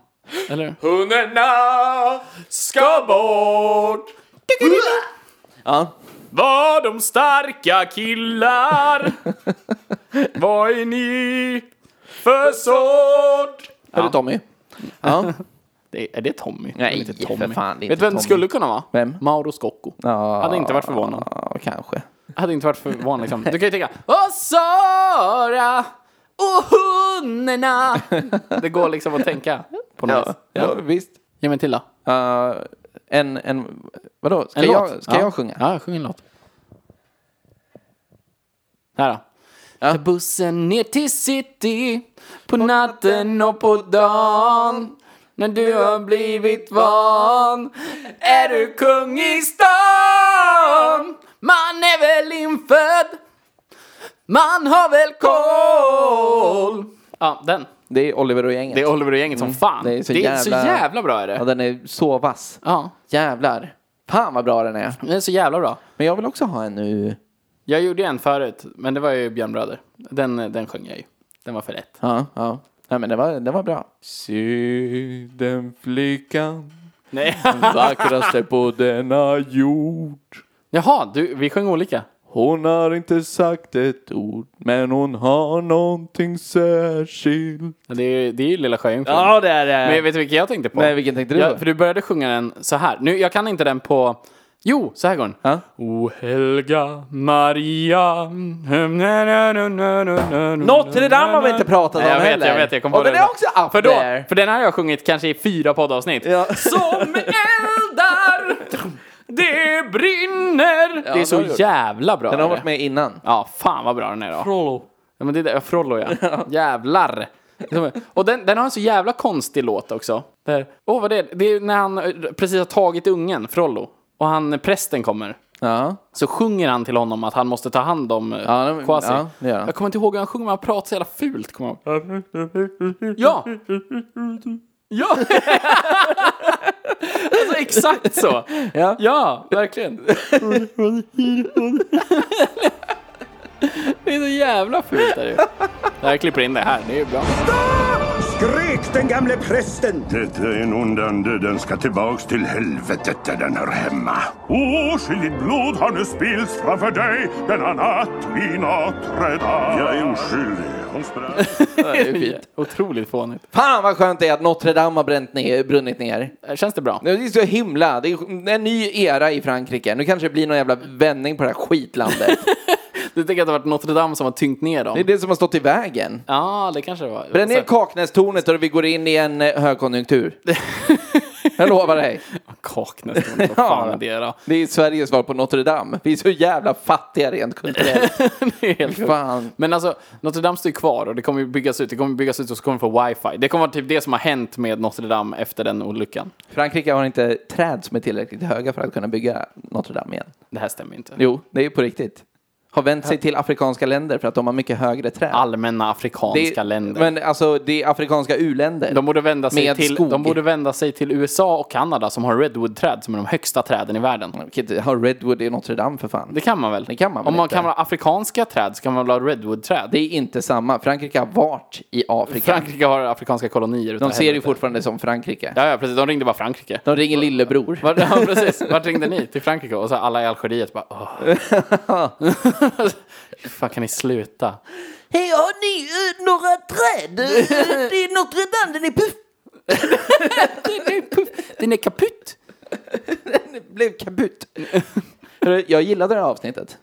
Eller Hundarna ska bort!
Ja.
Var de starka killar? Vad är ni för sort?
Är du Tommy? Ja.
Det, är det Tommy?
Nej,
Det är inte
för fan, det är
Vet
inte
du vem det
Tommy.
skulle kunna vara?
Vem?
Mauro Scocco.
Ja.
Hade inte varit förvånad.
Ja, kanske.
Hade inte varit förvånad liksom. Du kan ju tänka Åh Sara! Och hundarna! Det går liksom att tänka på något
Ja,
vis.
ja visst.
Ge mig en till då.
Eh, en, en, vadå? Ska,
En
jag,
låt.
ska
ja.
jag sjunga?
Ja, sjung en låt. Här då.
Ja.
Ta bussen ner till city på natten och på dagen när du har blivit van är du kung i stan Man är väl infödd Man har väl koll Ja, den.
Det är Oliver och gänget.
Det är Oliver och gänget
Mm.
som fan. Det är så, jävla... bra är
Ja,
det.
den är så vass.
Ja,
Jävlar. Fan vad bra den är.
den är så jävla bra.
Men jag vill också ha en nu.
Jag gjorde en förut, men det var ju Björn Bröder. Den, den sjöng jag ju. Den var för rätt.
Ja, ja. Nej men det var, det var bra.
Se den flickan,
Nej.
vackraste på denna jord.
Jaha, du, vi sjöng olika.
Hon har inte sagt ett ord, men hon har någonting särskilt.
Det är, det är ju Lilla Sjöjungfrun.
det är det.
Men vet du vilken jag tänkte på?
Nej, vilken tänkte du
Ja,
på?
för du började sjunga den så här. Nu, jag kan inte den på... Jo, så här går den.
Ja.
O helga Maria Notre
Notre Dame har vi inte pratat om
jag vet,
heller.
Jag vet, jag kom på
Och den
det.
är också up
för, då,
there.
för den här har jag sjungit kanske i fyra poddavsnitt.
Ja.
Som eldar, det brinner. det är
den har
så
du gjort.
jävla bra.
Den har
är det.
varit med innan.
Ja, fan vad bra den är då. Frollo. Ja, men det är det, ja, Frollo ja. Jävlar. Och den, den har en så jävla konstig låt också. Där. Åh, vad det är. Det är när han eh, precis har tagit ungen, Frollo. Och han, eh, prästen kommer.
Ja.
Så sjunger han till honom att han måste ta hand om eh,
Ja, men-
Kwasi.
ja, det gör han.
jag kommer inte ihåg hur han sjunger, men han pratar så jävla fult. Kommer jag ihåg. Ja! Ja! alltså exakt så.
Ja.
ja, verkligen. det är så jävla fult. Där. ju. Jag klipper in det här, det är ju bra.
skrek den gamle prästen.
Detta är en ond ande, den ska tillbaks till helvetet där den hör hemma. Åskilligt blod har nu spillts framför dig denna natt vid Notre Dame. Jag är oskyldig. Hon sprang.
Det är fint. Otroligt fånigt.
Fan vad skönt det är att Notre Dame har bränt ner, brunnit ner.
Känns det bra?
Det är så himla, det är en ny era i Frankrike. Nu kanske det blir någon jävla vändning på det här skitlandet.
Du tänker att det har varit Notre Dame som har tyngt ner
Det är
dem?
det som har stått i vägen.
Ja, det kanske det var.
Bränn ner Kaknästornet och vi går in i en eh, högkonjunktur. Jag lovar dig.
Kaknäs, vad fan är det då?
Det är Sveriges svar på Notre Dame. Vi är så jävla fattiga rent kulturellt.
Det är helt sjukt.
Fan.
Men alltså, Notre Dame står ju kvar och det kommer ju byggas ut. Det kommer byggas ut och så kommer det få wifi. Det kommer vara typ det som har hänt med Notre Dame efter den olyckan.
Frankrike har inte träd som är tillräckligt höga för att kunna bygga Notre Dame igen.
Det här stämmer ju inte.
Jo, det är ju på riktigt. Har vänt sig till afrikanska länder för att de har mycket högre träd.
Allmänna afrikanska
det är,
länder.
Men alltså, det är afrikanska u-länder.
de borde, vända sig
med
till,
skog.
de borde vända sig till USA och Kanada som har redwood-träd som är de högsta träden i världen.
Man kan inte ha Redwood i Notre Dame för fan.
Det kan man väl?
Det kan man väl
Om man
inte?
kan ha afrikanska träd så kan man väl ha redwood-träd?
Det är inte samma. Frankrike har varit i Afrika.
Frankrike har afrikanska kolonier. utav
de ser ju
helvete.
fortfarande som Frankrike.
Ja, ja, precis. De ringde bara Frankrike.
De ringer lillebror.
Vart, ja, precis. Vart ringde ni? Till Frankrike? Och så alla i Algeriet bara... åh. Hur fan kan ni sluta?
Hej, har ni eh, några träd? Eh, Det är Notre Dame, den är puff.
Den är kaputt!
Blev kaputt. jag gillade det här avsnittet.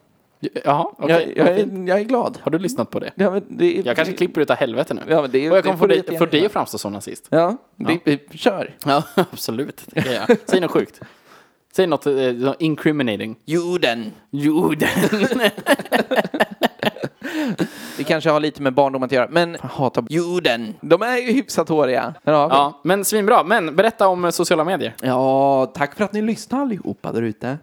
Jaha, okej.
Jag, jag, är, jag är glad.
Har du lyssnat på det?
Ja, men det är,
Jag kanske klipper utav helvete nu.
Ja, men det är-
och jag
det får
kommer få
du
dig,
jättegärna
för dig
göra.
att framstå som nazist.
Ja, det, vi- kör.
Ja, absolut. Det kan jag. Säg något sjukt. Säg något eh, incriminating.
Jorden.
Jorden.
Det kanske har lite med barndom att göra. Men jag hatar juden. De är ju hyfsat håriga. Här har vi.
Ja, men svinbra. Men berätta om eh, sociala medier.
Ja, tack för att ni lyssnar allihopa där ute.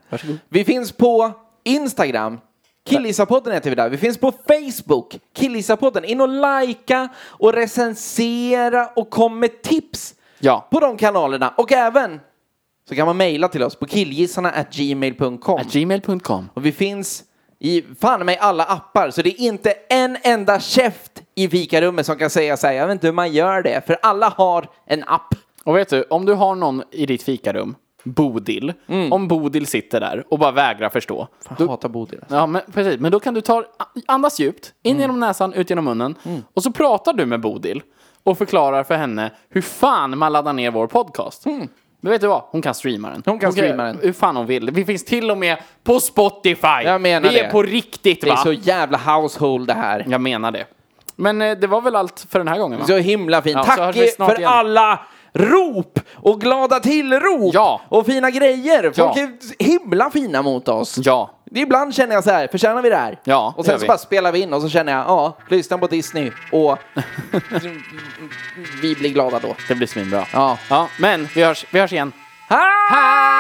Vi finns på Instagram. Killisapodden heter vi där. Vi finns på Facebook. Killisapodden. In och likea och recensera och kom med tips
Ja.
på de kanalerna. Och även så kan man mejla till oss på killgissarna@gmail.com.
Gmail.com.
Och vi finns i fan mig alla appar, så det är inte en enda käft i fikarummet som kan säga så här, jag vet inte hur man gör det, för alla har en app.
Och vet du, om du har någon i ditt fikarum, Bodil,
Mm.
om Bodil sitter där och bara vägrar förstå.
Jag hatar Bodil. alltså.
Ja, men precis. Men då kan du ta, andas djupt, in
Mm.
genom näsan, ut genom munnen. Och så pratar du med Bodil och förklarar för henne hur fan man laddar ner vår podcast. Men vet du vad? Hon kan streama den.
Mm. Hon kan streama den.
Hur fan hon vill. Vi finns till och med på Spotify.
Jag menar
Vi är
det.
på riktigt
Det är
va?
så jävla household det här.
Jag menar det. Men eh, det var väl allt för den här gången va?
Så himla fint.
Ja, så
Tack
hörs vi snart
för
igen.
alla rop och glada tillrop
Ja.
och fina grejer. Folk
Ja.
är himla fina mot oss.
Ja.
Det är Ibland känner jag så här, förtjänar vi det här?
Ja,
och
det gör
sen så
vi.
bara spelar vi in och så känner jag, ja, lyssna på Disney och vi blir glada då.
Det blir svinbra.
Ja.
ja men vi hörs, vi hörs igen.
Hej!